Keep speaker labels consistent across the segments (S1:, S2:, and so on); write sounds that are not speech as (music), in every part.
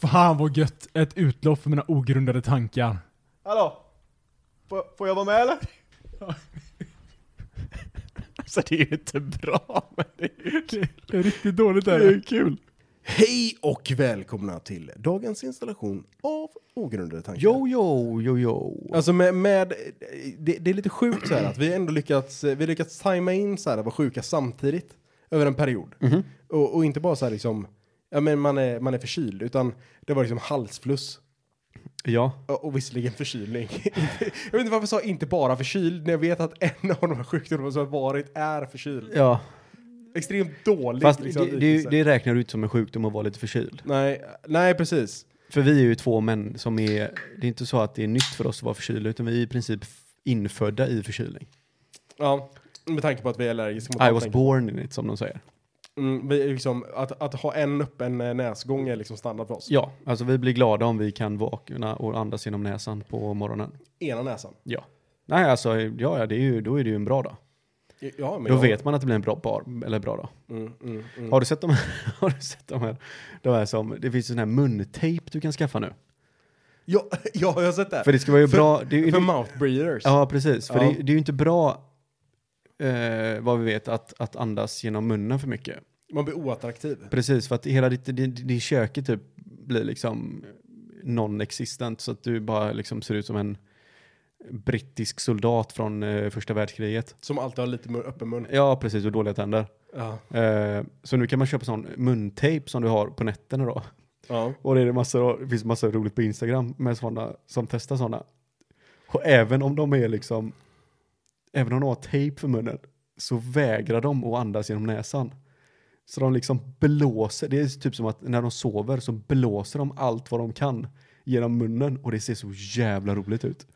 S1: Fan vad gött! Ett utlopp för mina ogrundade tankar.
S2: Hallå? Får, får jag vara med eller?
S3: Alltså det är ju inte bra, men det är ju kul.
S1: Det är riktigt dåligt
S3: Det är ju kul.
S4: Hej och välkomna till dagens installation av Ogrundade tankar.
S3: Jo, jo, jo, jo.
S4: Alltså med, med det, det är lite sjukt så här att vi ändå lyckats, vi har lyckats tajma in så här att vara sjuka samtidigt över en period.
S3: Mhm.
S4: Och, och inte bara så här liksom, ja men man är, man är förkyld, utan det var liksom halsfluss.
S3: Ja.
S4: Och, och visserligen förkylning. (laughs) jag vet inte varför jag sa inte bara förkyld, när jag vet att en av de här sjukdomarna som har varit är förkyld.
S3: Ja,
S4: Extremt dåligt
S3: fast
S4: liksom.
S3: det, det,
S4: liknelse.
S3: det räknar du ut som en sjukdom att vara lite förkyld.
S4: Nej, nej precis.
S3: För vi är ju två män som är, det är inte så att det är nytt för oss att vara förkylda, utan vi är i princip infödda i förkylning.
S4: Ja, med tanke på att vi är allergiska mot
S3: I
S4: allt
S3: was
S4: tänk-
S3: born in it, som de säger.
S4: Mm, vi är liksom, att, att ha en öppen eh, näsgång är liksom standard för oss.
S3: Ja, alltså vi blir glada om vi kan vakna och andas genom näsan på morgonen.
S4: Ena näsan.
S3: Ja. Nej, alltså, ja, ja, det är ju, då är det ju en bra dag.
S4: Ja, men
S3: Då
S4: jag-
S3: vet man att det blir en bra, bar, eller bra dag.
S4: Mm, mm, mm.
S3: Har du sett de här? (laughs) Har du sett de här, de här som, det finns ju sån här muntejp du kan skaffa nu.
S4: Ja, (laughs) ja, jag har sett det.
S3: För det ska vara ju
S4: För-
S3: bra. Det, är ju-
S4: För mouth breathers.
S3: ja, precis.
S4: Ja.
S3: För Det, det är ju inte bra, eh, vad vi vet, att, att andas genom munnen för mycket.
S4: Man blir oattraktiv.
S3: Precis, för att hela ditt, ditt, ditt köket typ blir liksom non-existent så att du bara liksom ser ut som en brittisk soldat från eh, första världskriget.
S4: Som alltid har lite mun, öppen mun.
S3: Ja, precis, och dåliga tänder.
S4: Ja.
S3: Eh, så nu kan man köpa sån muntejp som du har på nätterna då.
S4: ja.
S3: Och det, är det, massor, det finns massa roligt på Instagram med sådana som testar sådana. Och även om de är liksom, även om de har tejp för munnen så vägrar de att andas genom näsan. Så de liksom blåser, det är typ som att när de sover så blåser de allt vad de kan genom munnen och det ser så jävla roligt ut.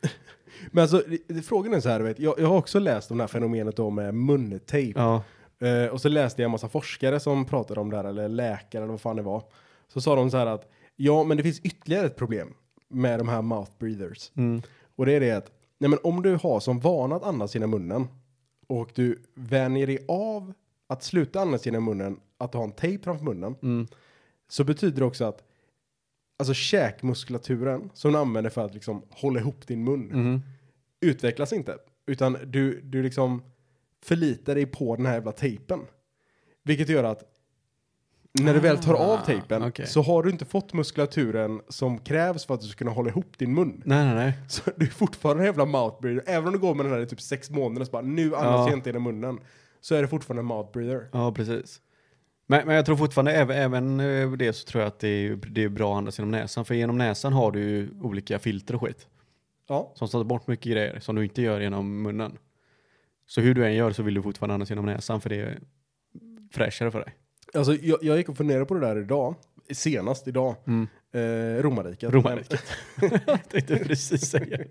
S4: Men alltså, det- det- frågan är så här, du vet, jag, jag har också läst om det här fenomenet då med muntejp.
S3: Ja,
S4: Eh, och så läste jag en massa forskare som pratade om det här, eller läkare eller vad fan det var. Så sa de så här att, ja men det finns ytterligare ett problem med de här mouth breathers. Och det är det att, nej men om du har som vana att andas genom munnen och du vänjer dig av att sluta andas genom munnen, att du har en tejp framför munnen, så betyder det också att alltså käkmuskulaturen som du använder för att liksom hålla ihop din mun
S3: Mm.
S4: utvecklas inte. Utan du, du liksom förlitar dig på den här jävla tejpen. Vilket gör att när du väl tar av tejpen
S3: Ah, okej.
S4: så har du inte fått muskulaturen som krävs för att du ska kunna hålla ihop din mun.
S3: nej nej nej.
S4: Så du är fortfarande en jävla mouth breather. Även om du går med den här i typ sex månader och bara nu andas
S3: Ja.
S4: jag inte genom munnen. Så är det fortfarande en mouth breather.
S3: Ja, precis. Men, men jag tror fortfarande, även, även eh, det så tror jag att det är, det är bra att andas genom näsan. För genom näsan har du ju olika filter och skit.
S4: Ja.
S3: som tar bort mycket grejer som du inte gör genom munnen. Så hur du än gör så vill du fortfarande andas genom näsan för det är fräschare för dig.
S4: Alltså jag, jag gick och funderade på det där idag. Senast idag.
S3: Mm.
S4: Eh, romarriket.
S3: Romarriket. jag tänkte precis säga det.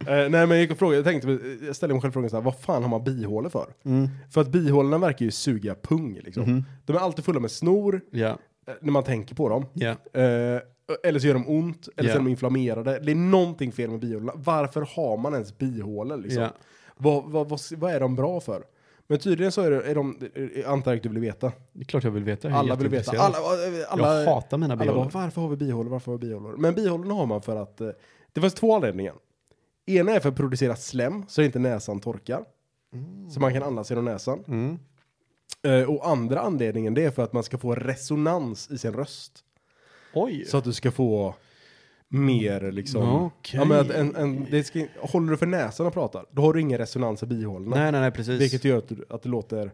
S4: Men, (laughs) eh, nej men jag gick och frågade, jag tänkte, jag ställde mig själv frågan så här, vad fan har man bihålor för? För att bihålorna verkar ju suga pung liksom.
S3: Mhm.
S4: De är alltid fulla med snor
S3: Ja,
S4: eh, när man tänker på dem.
S3: ja.
S4: Eh, eller så gör de ont, eller så
S3: Ja.
S4: är de inflammerade. Det är någonting fel med bihålorna. Varför har man ens bihålor liksom?
S3: Ja.
S4: Vad, vad, vad, vad är de bra för? Men tydligen så är, det, är de, eh, antar jag att du vill veta.
S3: Det är klart jag vill veta. Jag är
S4: Alla vill veta.
S3: jätteintresserad.
S4: Alla, eh, alla,
S3: jag hatar mina
S4: alla bara,
S3: bihålor.
S4: varför har vi bihålor, varför har vi bihålor? Men bihålorna har man för att, eh, det finns två anledningar. Ena är för att producera slem så inte näsan torkar. Så man kan andas genom näsan.
S3: Mm.
S4: Eh, Och andra anledningen det är för att man ska få resonans i sin röst.
S3: Oj!
S4: Så att du ska få mer liksom.
S3: Mm, Okej.
S4: Ja, men att en, en, det ska, håller du för näsan och pratar, då har du ingen resonans i bihålorna.
S3: nej, nej, nej, precis.
S4: Vilket gör att, du, att det låter,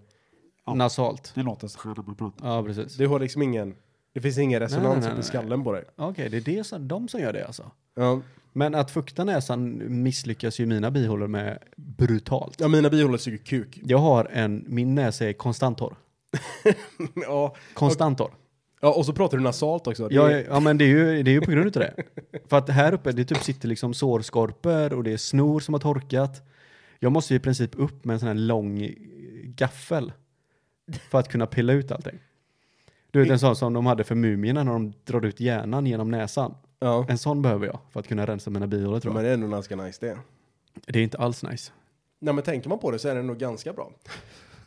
S3: Nasalt.
S2: Det låter så när man pratar.
S3: Ja, precis.
S4: du har liksom ingen, det finns ingen resonans
S3: nej, nej,
S4: upp i
S3: nej.
S4: skallen på dig.
S3: Okej, det är det som, de som gör det alltså.
S4: Ja.
S3: Men att fukta näsan misslyckas ju mina bihålor med brutalt.
S4: ja, mina bihålor suger kuk. (laughs)
S3: Jag har en, min näsa är konstant torr.
S4: Ja.
S3: Konstant torr.
S4: ja, och så pratar du nasalt också. Det
S3: Ja,
S4: är-
S3: ja men det är ju, det är ju på grund av det. (laughs) För att här uppe, det typ sitter liksom sårskorpor och det är snor som har torkat. Jag måste ju i princip upp med en sån här lång gaffel för att kunna pilla ut allting. Du vet en sån som de hade för mumierna när de drar ut hjärnan genom näsan.
S4: ja.
S3: En sån behöver jag för att kunna rensa mina bihålor tror
S4: Men
S3: jag.
S4: det är ändå ganska nice det.
S3: Det är inte alls nice.
S4: Nej, men tänker man på det så är det nog ganska bra.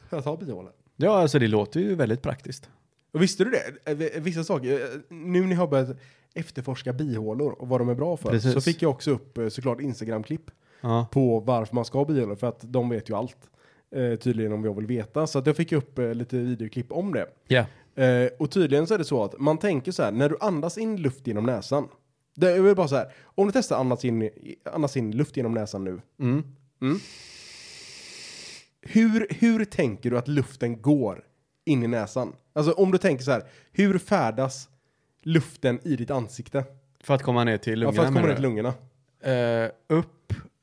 S4: Att ha bihålor.
S3: Ja, alltså det låter ju väldigt praktiskt.
S4: Och visste du det? Eh, Vissa saker, eh, nu när jag har börjat efterforska bihålor och vad de är bra för.
S3: Precis.
S4: Så fick jag också upp eh, såklart Instagram-klipp
S3: Ja.
S4: på varför man ska ha bihålor för att de vet ju allt. Eh, tydligen om jag vill veta. Så att jag fick upp eh, lite videoklipp om det.
S3: Ja.
S4: Eh, och tydligen så är det så att man tänker så här, när du andas in luft genom näsan. Det är väl bara så här, om du testar andas in, andas in luft genom näsan nu.
S3: Mm.
S4: Mm. Hur, hur tänker du att luften går in i näsan? Alltså om du tänker så här, hur färdas luften i ditt ansikte?
S3: För att komma ner till
S4: Ja,
S3: lungorna.
S4: för att komma
S3: menar
S4: ner
S3: du?
S4: till lungorna.
S3: Eh, upp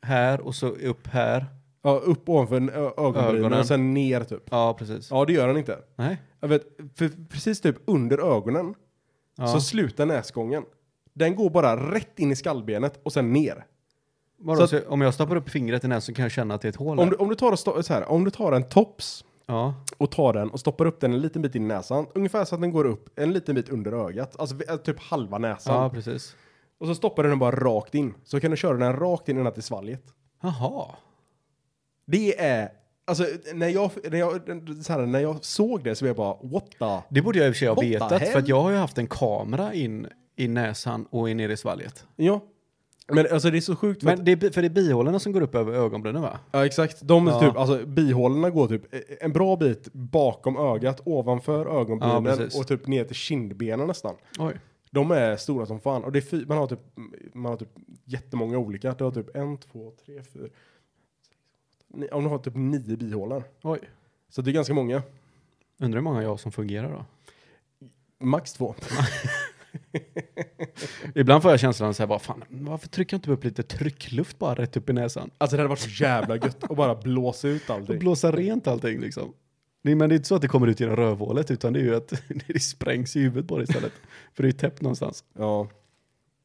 S3: här och så upp här.
S4: Ja, upp ovanför ö- ögonbrynen
S3: Ögonen.
S4: och sen ner typ.
S3: Ja, precis.
S4: Ja, det gör den inte.
S3: Nej.
S4: Jag vet, för precis typ under ögonen
S3: Ja.
S4: så slutar näsgången. Den går bara rätt in i skallbenet och sen ner.
S3: Vadå,
S4: så att-
S3: så om jag stoppar upp fingret i näsan kan jag känna att det är ett hål
S4: Om
S3: där?
S4: du, om, du tar och sto- så här, om du tar en tops
S3: Ja.
S4: och tar den och stoppar upp den en liten bit in i näsan, ungefär så att den går upp en liten bit under ögat, alltså vi- typ halva näsan.
S3: ja, precis.
S4: Och så stoppar du den bara rakt in. Så kan du köra den rakt in ända till svalget.
S3: Jaha.
S4: Det är, alltså när jag, när jag, så här, när jag såg det så blev jag bara what the?
S3: Det borde jag i och för sig ha
S4: What the
S3: vetat, för
S4: hell?
S3: att jag har ju haft en kamera in i näsan och in ner i svalget.
S4: Ja. Men alltså det är så sjukt för att,
S3: Men det är, bi- för det är bihålorna som går upp över ögonbrynen va?
S4: ja exakt, de
S3: Ja.
S4: typ, alltså bihålorna går typ eh, en bra bit bakom ögat, ovanför
S3: Ja,
S4: ögonbrynen
S3: precis.
S4: och typ ner till kindbenen nästan.
S3: Oj.
S4: De är stora som fan. Och det är fy, man, har typ, man har typ jättemånga olika. Du har typ en, två, tre, fyra. sex, ni- Om du har typ nio bihålor.
S3: Oj.
S4: Så det är ganska många.
S3: Undrar hur många jag har som fungerar då?
S4: Max två.
S3: Ibland får jag känslan så här bara, fan, varför trycker jag inte upp lite tryckluft bara rätt upp i näsan?
S4: Alltså det hade varit så jävla gött att bara blåsa ut
S3: Och
S4: allting.
S3: blåsa rent allting liksom. Nej, men det är inte så att det kommer ut genom rövhålet, utan det är ju att (laughs) det sprängs i huvudet på det istället. för det är ju täppt någonstans.
S4: Ja.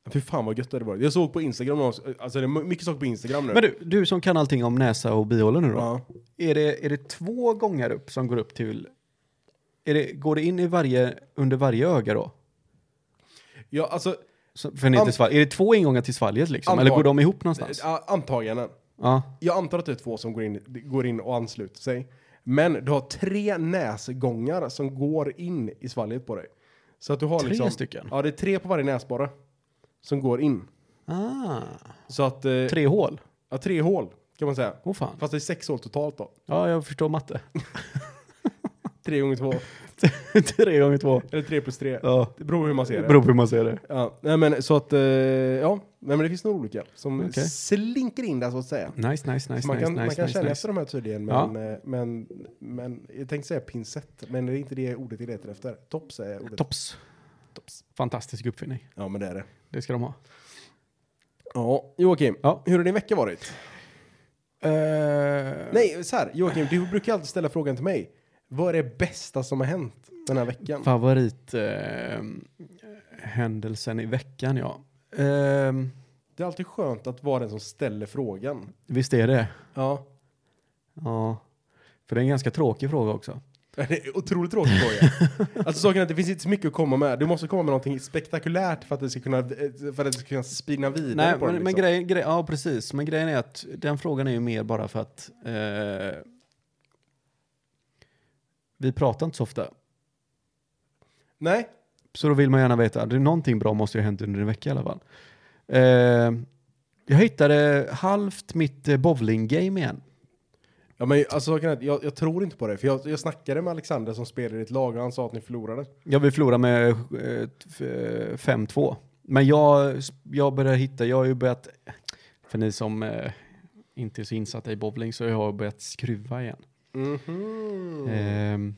S4: Fy fan vad gött det hade varit. Jag såg på Instagram, någon- alltså det är mycket saker på Instagram nu.
S3: Men du, du som kan allting om näsa och bihålor nu då.
S4: Ja.
S3: Är, det, är det två gånger upp som går upp till... Är det, går det in i varje, under varje öga då?
S4: ja, alltså
S3: Så- För ner
S4: Am- Äh,
S3: till svalg. Är det två ingångar till svalget liksom?
S4: Antagligen.
S3: Eller går de ihop någonstans?
S4: a- antaganden.
S3: Ja.
S4: Jag antar att det är två som går in, går in och ansluter sig. Men du har tre näsgångar som går in i svalget på dig. Så att du har
S3: Tre
S4: liksom,
S3: stycken?
S4: Ja, det är tre på varje näsborre som går in.
S3: Ah,
S4: Så att, eh, tre.
S3: tre hål.
S4: Ja, tre hål kan man säga.
S3: Åh fan.
S4: Fast det är sex hål totalt då.
S3: Ja, jag förstår matte. (laughs)
S4: Tre gånger två.
S3: tre gånger två.
S4: Eller tre plus tre.
S3: Ja,
S4: Det beror på hur man ser
S3: det
S4: det.
S3: beror på hur man ser det.
S4: Ja, nej men så att, eh, ja, nej men det finns några olika som
S3: Okej.
S4: slinker in där så att säga.
S3: Nice, nice, nice,
S4: Så man
S3: nice,
S4: kan, man
S3: nice,
S4: kan
S3: nice,
S4: känna
S3: nice.
S4: efter de här tydligen, men, eh, men, men jag tänkte säga pincett, men det är inte det ordet jag letar efter. Tops är ordet.
S3: Tops. Tops. Fantastisk uppfinning.
S4: Ja, men det är det.
S3: Det ska de ha.
S4: Ja, Joakim,
S3: Ja.
S4: hur har din vecka varit?
S3: Nej.
S4: Eh, Nej, så här, Joakim, du brukar alltid ställa frågan till mig. Vad är det bästa som har hänt den här veckan?
S3: Favorithändelsen eh, händelsen i veckan, ja. Ehm,
S4: Det är alltid skönt att vara den som ställer frågan.
S3: visst är det?
S4: Ja.
S3: Ja. För det är en ganska tråkig fråga också.
S4: (laughs) Det är otroligt tråkigt fråga.
S3: (laughs)
S4: Alltså saken är att det finns inte så mycket att komma med. Du måste komma med någonting spektakulärt för att det ska kunna, eh, för att det ska kunna spinna vidare
S3: Nej,
S4: på
S3: men,
S4: den,
S3: men
S4: liksom.
S3: grejen, grej, ja precis. Men grejen är att den frågan är ju mer bara för att eh, vi pratar inte så ofta.
S4: Nej,
S3: Så då vill man gärna veta, det är någonting bra måste ju ha hänt under en vecka i alla fall. Eh, jag hittade halvt mitt eh, bowling-game igen.
S4: Ja, men alltså, saken är att jag, jag tror inte på det. För jag, jag snackade med Alexander som spelar i ditt lag och han sa att ni förlorade.
S3: Jag vill förlora med eh, f- eh, 5-2. Men jag, jag börjar hitta, jag har ju börjat, för ni som eh, inte är så insatta i bowling så har jag börjat skruva igen. Ehm,
S4: Eh,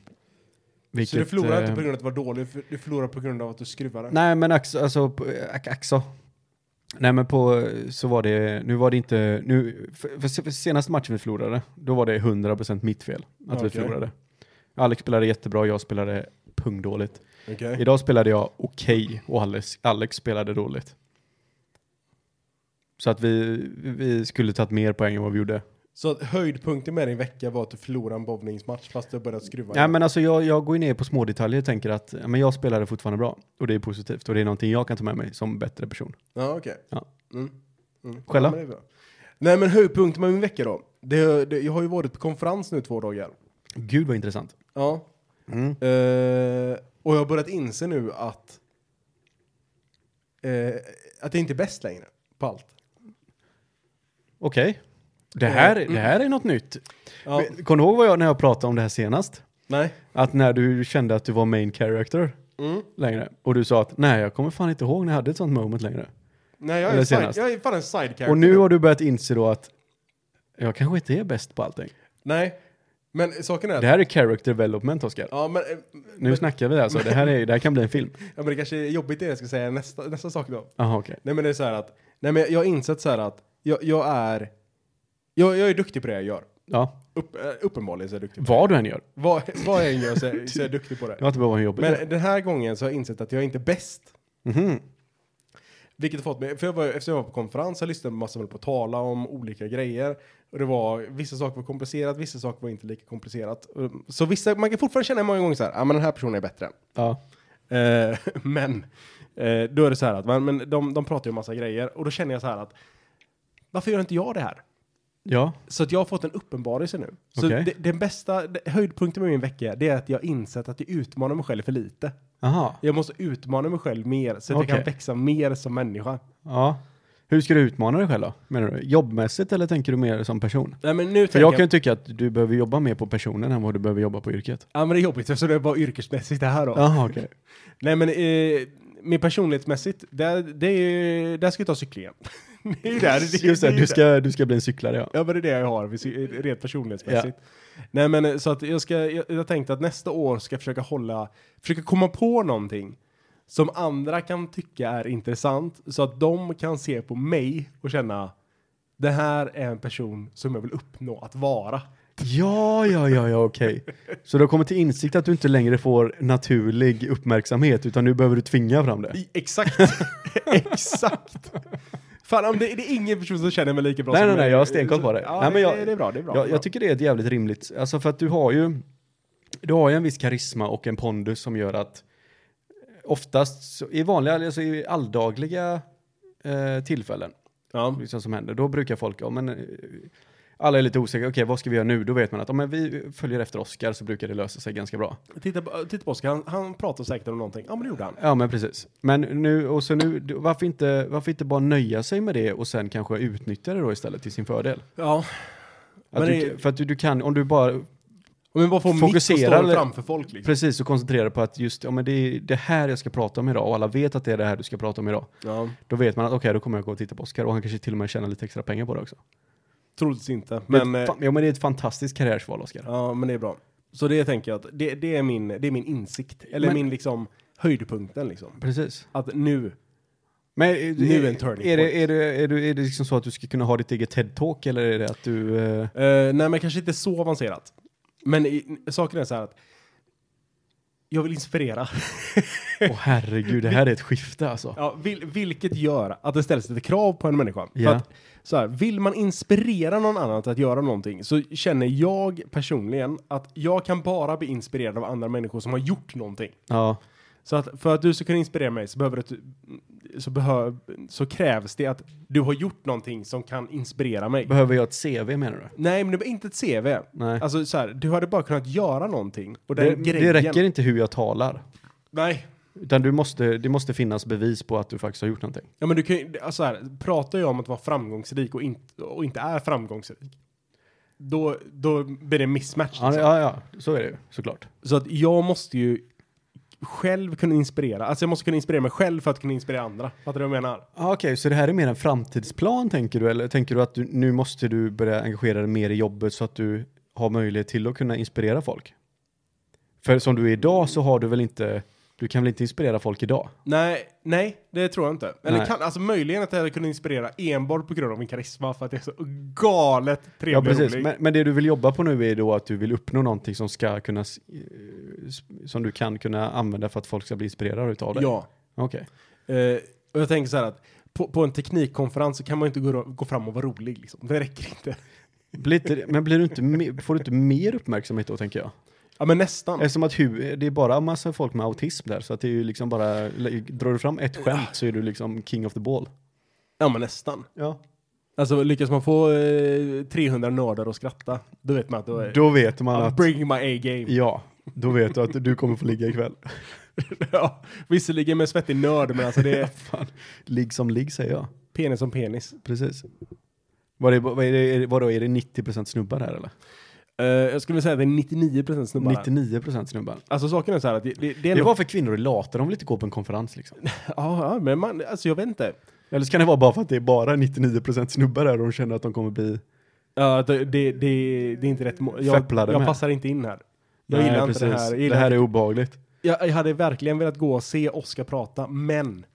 S4: så Mm. du förlorade
S3: eh,
S4: inte på grund av att du var dålig, för- du förlorade på grund av att du skruvade.
S3: Nej men också, alltså, på- ac- också. Nej men på, så var det, nu var det inte, nu, för, för, för senaste matchen vi förlorade, då var det 100% mitt fel att vi
S4: Okej.
S3: förlorade. Alex spelade jättebra, jag spelade pungdåligt.
S4: Okej.
S3: Idag spelade jag okej och Alex, Alex spelade dåligt. Så att vi, vi skulle tagit mer poäng än vad vi gjorde.
S4: Så att höjdpunkten med din vecka var att du förlorade en bowlingsmatch fast du har börjat skruva.
S3: Nej men alltså jag, jag går ju ner på små detaljer och tänker att ja, men jag spelade fortfarande bra. Och det är positivt och det är någonting jag kan ta med mig som bättre person.
S4: Ja, okej.
S3: Ja.
S4: Mm. Mm.
S3: Själva?
S4: Ja, men det är bra. Nej, men höjdpunkten med min vecka då? Det, det, jag har ju varit på konferens nu två dagar.
S3: Gud vad intressant.
S4: Ja. Eh, och jag har börjat inse nu att eh, att det inte är bäst längre på allt.
S3: Okej. Det, här, det här är något nytt.
S4: Ja,
S3: Men Kommer du ihåg vad jag, när jag pratade om det här senast?
S4: nej.
S3: Att när du kände att du var main character
S4: Mm.
S3: längre. Och du sa att nej, jag kommer fan inte ihåg när jag hade ett sånt moment längre.
S4: Nej, jag är,
S3: Eller
S4: side,
S3: senast.
S4: jag är fan en side character.
S3: Och nu har du börjat inse då att jag kanske inte är bäst på allting.
S4: Nej, men saken är att...
S3: Det här är character development, Oskar.
S4: Ja, men, eh,
S3: Nu snackar vi alltså. Det här, är, det här kan bli en film.
S4: ja, men det kanske är jobbigt det jag ska säga nästa, nästa sak då.
S3: Jaha, okej.
S4: Nej men det är så här att, nej men jag har insett så här att jag, jag är, jag, jag är duktig på det jag gör.
S3: Ja,
S4: Upp, eh, uppenbarligen så är jag duktig. på
S3: vad du än gör.
S4: det. Vad, vad jag än gör så (laughs) är, så är jag duktig på det.
S3: Jag har inte behövt vara jobbig.
S4: Men den här gången så har jag insett att jag är inte bäst.
S3: Mhm.
S4: Vilket har fått mig, för jag var, eftersom jag var på konferens, jag lyssnade på massor på tala om olika grejer. Och det var, vissa saker var komplicerat, vissa saker var inte lika komplicerat. Och- Så vissa, man kan fortfarande känna många gånger så här, ja ah, men den här personen är bättre.
S3: Ja.
S4: Eh, (laughs) men eh, då är det så här att men, men de, de pratar ju om massa grejer och då känner jag så här att varför gör inte jag det här?
S3: ja,
S4: Så att jag har fått en uppenbarelse nu. Så
S3: Okej.
S4: det, den bästa det- höjdpunkten med min vecka det är att jag har insett att jag utmanar mig själv för lite.
S3: aha.
S4: Jag måste utmana mig själv mer så att jag
S3: Okej.
S4: kan växa mer som människa.
S3: Ja. Hur ska du utmana dig själv då? Menar du jobbmässigt eller tänker du mer som person?
S4: Nej men nu
S3: För
S4: tänker
S3: jag
S4: jag,
S3: kan ju tycka att du behöver jobba mer på personen än vad du behöver jobba på yrket.
S4: ja men det är jobbigt eftersom det är bara yrkesmässigt det här då.
S3: Jaha, okej.
S4: Nej men eh, min personlighetsmässigt, där, det är ju, där ska jag ta cyklingen. (laughs) (laughs) det är ju där. är-
S3: Just det,
S4: är ju
S3: du ska, du ska bli en cyklare ja.
S4: Ja, men det är det jag har, vis- rent personlighetsmässigt. Nej, men eh, så att jag ska, jag, jag tänkte att nästa år ska jag försöka hålla, försöka komma på någonting som andra kan tycka är intressant så att de kan se på mig och känna det här är en person som jag vill uppnå att vara.
S3: Ja, ja, ja, ja, okej. Så du har kommit till insikt att du inte längre får naturlig uppmärksamhet utan nu behöver du tvinga fram det.
S4: I, exakt. (laughs) exakt. Fan, om det, det är ingen person som känner mig lika bra
S3: Nej,
S4: som
S3: nej,
S4: mig.
S3: nej, jag har stenkoll på det.
S4: Ja,
S3: Nej, men jag-
S4: det, det är bra, det är bra. det är
S3: Jag,
S4: bra.
S3: jag tycker det är ett jävligt rimligt, alltså för att du har ju, du har ju en viss karisma och en pondus som gör att oftast så, i vanliga, alltså i alldagliga eh, tillfällen
S4: ja.
S3: liksom som händer, då brukar folk, ja men eh, alla är lite osäkra, okej vad ska vi göra nu? Då vet man att om men vi följer efter Oscar så brukar det lösa sig ganska bra.
S4: Titta, på- titta på Oskar, han, han pratar säkert om någonting. Ja, men det gjorde han.
S3: Ja men precis. Men nu, och så nu, du- varför inte, varför inte bara nöja sig med det och sen kanske utnyttja det då istället till sin fördel?
S4: Ja,
S3: Att
S4: Men
S3: du,
S4: det-
S3: För att du, du kan, om du bara,
S4: Men bara få mick och
S3: Fokusera
S4: stå
S3: eller-
S4: framför folk liksom.
S3: precis så koncentrerar dig på att just, ja men det är det här jag ska prata om idag och alla vet att det är det här du ska prata om idag.
S4: Ja,
S3: Då vet man att okej, då kommer jag gå och titta på Oscar och han kanske till och med tjänar lite extra pengar på det också.
S4: troligtvis inte.
S3: Men,
S4: Men, eh,
S3: ja men det är ett fantastiskt karriärsval Oscar.
S4: ja, men det är bra. Så det tänker jag att det, det, är, min, det är min insikt. Eller
S3: Men-
S4: min liksom höjdpunkten liksom.
S3: Precis.
S4: Att nu,
S3: Men är,
S4: Nu är
S3: är,
S4: en turning
S3: är, det,
S4: point.
S3: är, det, är, det, är det liksom så att du ska kunna ha ditt eget TED-talk eller är det att du... eh,
S4: eh, nej men kanske inte så avancerat. Men i, saken är så här att jag vill inspirera. (laughs)
S3: Åh herregud, det här är ett skifte alltså.
S4: Ja, vil, vilket gör att det ställs lite krav på en människa.
S3: Ja.
S4: För att, så här, vill man inspirera någon annan till att göra någonting så känner jag personligen att jag kan bara bli inspirerad av andra människor som har gjort någonting.
S3: Ja,
S4: Så att för att du ska kunna inspirera mig så, behöver det, så, behö, så krävs det att du har gjort någonting som kan inspirera mig.
S3: behöver jag ett CV menar du?
S4: Nej, men det var inte ett CV.
S3: Nej.
S4: Alltså så här, du hade bara kunnat göra någonting. Och den
S3: Det,
S4: grejen,
S3: det räcker inte hur jag talar.
S4: Nej.
S3: Utan du måste, det måste finnas bevis på att du faktiskt har gjort någonting.
S4: Ja, men du kan ju, alltså så här, pratar jag om att vara framgångsrik och, inte och inte är framgångsrik, då, då blir det en mismatch.
S3: Ja,
S4: liksom.
S3: ja, ja, så är det ju såklart.
S4: Så att jag måste ju själv kunna inspirera. Alltså jag måste kunna inspirera mig själv för att kunna inspirera andra. Fattar du vad jag menar?
S3: Ah, Okej, så det här är mer en framtidsplan tänker du? Eller tänker du att du, nu måste du börja engagera dig mer i jobbet så att du har möjlighet till att kunna inspirera folk? För som du är idag så har du väl inte, du kan väl inte inspirera folk idag?
S4: Nej, nej, det tror jag inte. Eller
S3: Nej.
S4: kan, alltså möjligen att jag hade kunnat inspirera enbart på grund av min karisma för att jag är så galet trevlig
S3: Ja,
S4: och
S3: precis.
S4: rolig.
S3: Men, men det du vill jobba på nu är då att du vill uppnå någonting som ska kunna, s- eh, s- som du kan kunna använda för att folk ska bli inspirerade utav det?
S4: Ja.
S3: Okej.
S4: Eh, och jag tänker så här att på, på en teknikkonferens så kan man ju inte gå, gå fram och vara rolig liksom. Det räcker inte.
S3: Blir inte- Men blir du inte, me- får du inte mer uppmärksamhet då, tänker jag?
S4: Ja, men nästan.
S3: Eftersom att hu, det är bara massa folk med autism där, så att det är ju liksom bara, drar du fram ett skämt så är du liksom king of the ball.
S4: Ja, men nästan.
S3: Ja.
S4: Alltså lyckas man få eh, 300 nördar att skratta, då vet man att då är...
S3: Då vet man
S4: I'm
S3: att,
S4: bringing my A-game.
S3: ja, då vet du att du kommer få ligga ikväll.
S4: (laughs) ja, visserligen med svettig nörd, men alltså det är
S3: (laughs) Fan. Ligg som ligg säger jag.
S4: penis som penis.
S3: Precis. Var det, var det, är det- vadå, är det 90% snubbar här eller?
S4: Eh, jag skulle säga att det är 99% snubbar.
S3: 99% snubbar.
S4: Alltså saken är så här att det, det, det är
S3: Det
S4: nog-
S3: var för kvinnor är lata, de vill inte gå på en konferens liksom.
S4: Ja, ja, men man, alltså jag vet inte.
S3: Eller så kan det vara bara för att det är bara 99% snubbar här och de känner att de kommer bli...
S4: Ja, det, det, det, det är inte rätt. må- Jag,
S3: Fepplade
S4: jag
S3: med.
S4: passar inte in här. Jag
S3: Nej,
S4: gillar
S3: precis.
S4: inte det här. Jag,
S3: Det
S4: gillar
S3: här
S4: inte-
S3: är obehagligt.
S4: jag, jag hade verkligen velat gå och se Oskar prata, men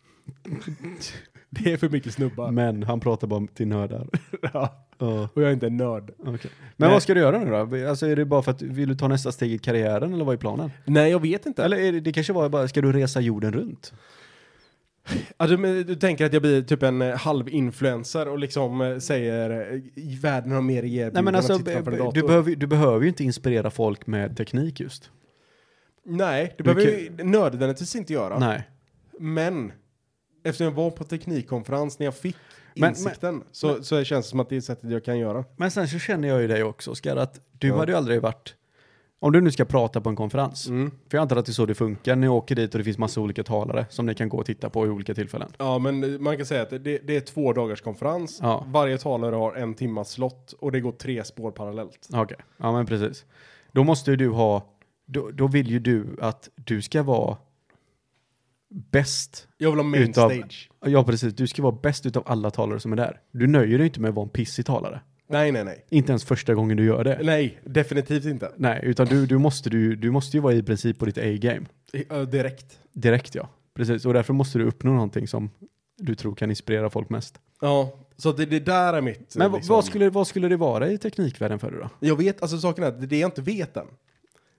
S4: (laughs) det är för mycket snubbar.
S3: Men han pratar bara
S4: (laughs)
S3: till nördar.
S4: Ja,
S3: Ja,
S4: och jag är inte en nörd.
S3: okej. Men
S4: Nej.
S3: vad ska du göra nu då? Alltså är det bara för att, vill du ta nästa steg i karriären eller vad är planen?
S4: Nej, jag vet inte.
S3: Eller är det, det kanske var bara, ska du resa jorden runt?
S4: Alltså, men du tänker att jag blir typ en eh, halv-influencer och liksom eh, säger eh, världen har mer att erbjuda
S3: Nej
S4: än
S3: men
S4: att
S3: alltså,
S4: sitta framför en
S3: du
S4: dator."
S3: behöver, ju- du behöver ju inte inspirera folk med teknik just.
S4: Nej, det
S3: Du
S4: behöver ju nödvändigtvis inte göra.
S3: Nej.
S4: Men eftersom jag var på teknikkonferens när jag fick
S3: Men-
S4: insikten så, så det känns det som att det är sättet jag kan göra.
S3: Men sen så känner jag ju dig också Oskar, att du
S4: Ja.
S3: hade ju aldrig varit, om du nu ska prata på en konferens,
S4: Mm.
S3: för jag antar att det är så det funkar, ni åker dit och det finns massa olika talare som ni kan gå och titta på i olika tillfällen.
S4: Ja, men man kan säga att det, det är två dagars konferens.
S3: Ja.
S4: Varje talare har en timmas slott och det går tre spår parallellt.
S3: Okej, ja men precis. Då måste ju du ha, då, då vill ju du att du ska vara bäst.
S4: Jag vill ha main
S3: Utav-
S4: stage.
S3: Ja precis, du ska vara bäst utav alla talare som är där. Du nöjer dig inte med att vara en pissig talare.
S4: Nej, nej, nej.
S3: Inte ens första gången du gör det.
S4: Nej, definitivt inte.
S3: Nej, utan du, du, måste, du, du måste ju vara i princip på ditt A-game.
S4: Eh, direkt.
S3: Direkt ja, precis. Och därför måste du uppnå någonting som du tror kan inspirera folk mest.
S4: Ja, så det, det där är mitt... eh,
S3: Men v-
S4: liksom-
S3: vad, skulle, vad skulle det vara i teknikvärlden för dig då?
S4: Jag vet, alltså saken är att det är det jag inte vet än.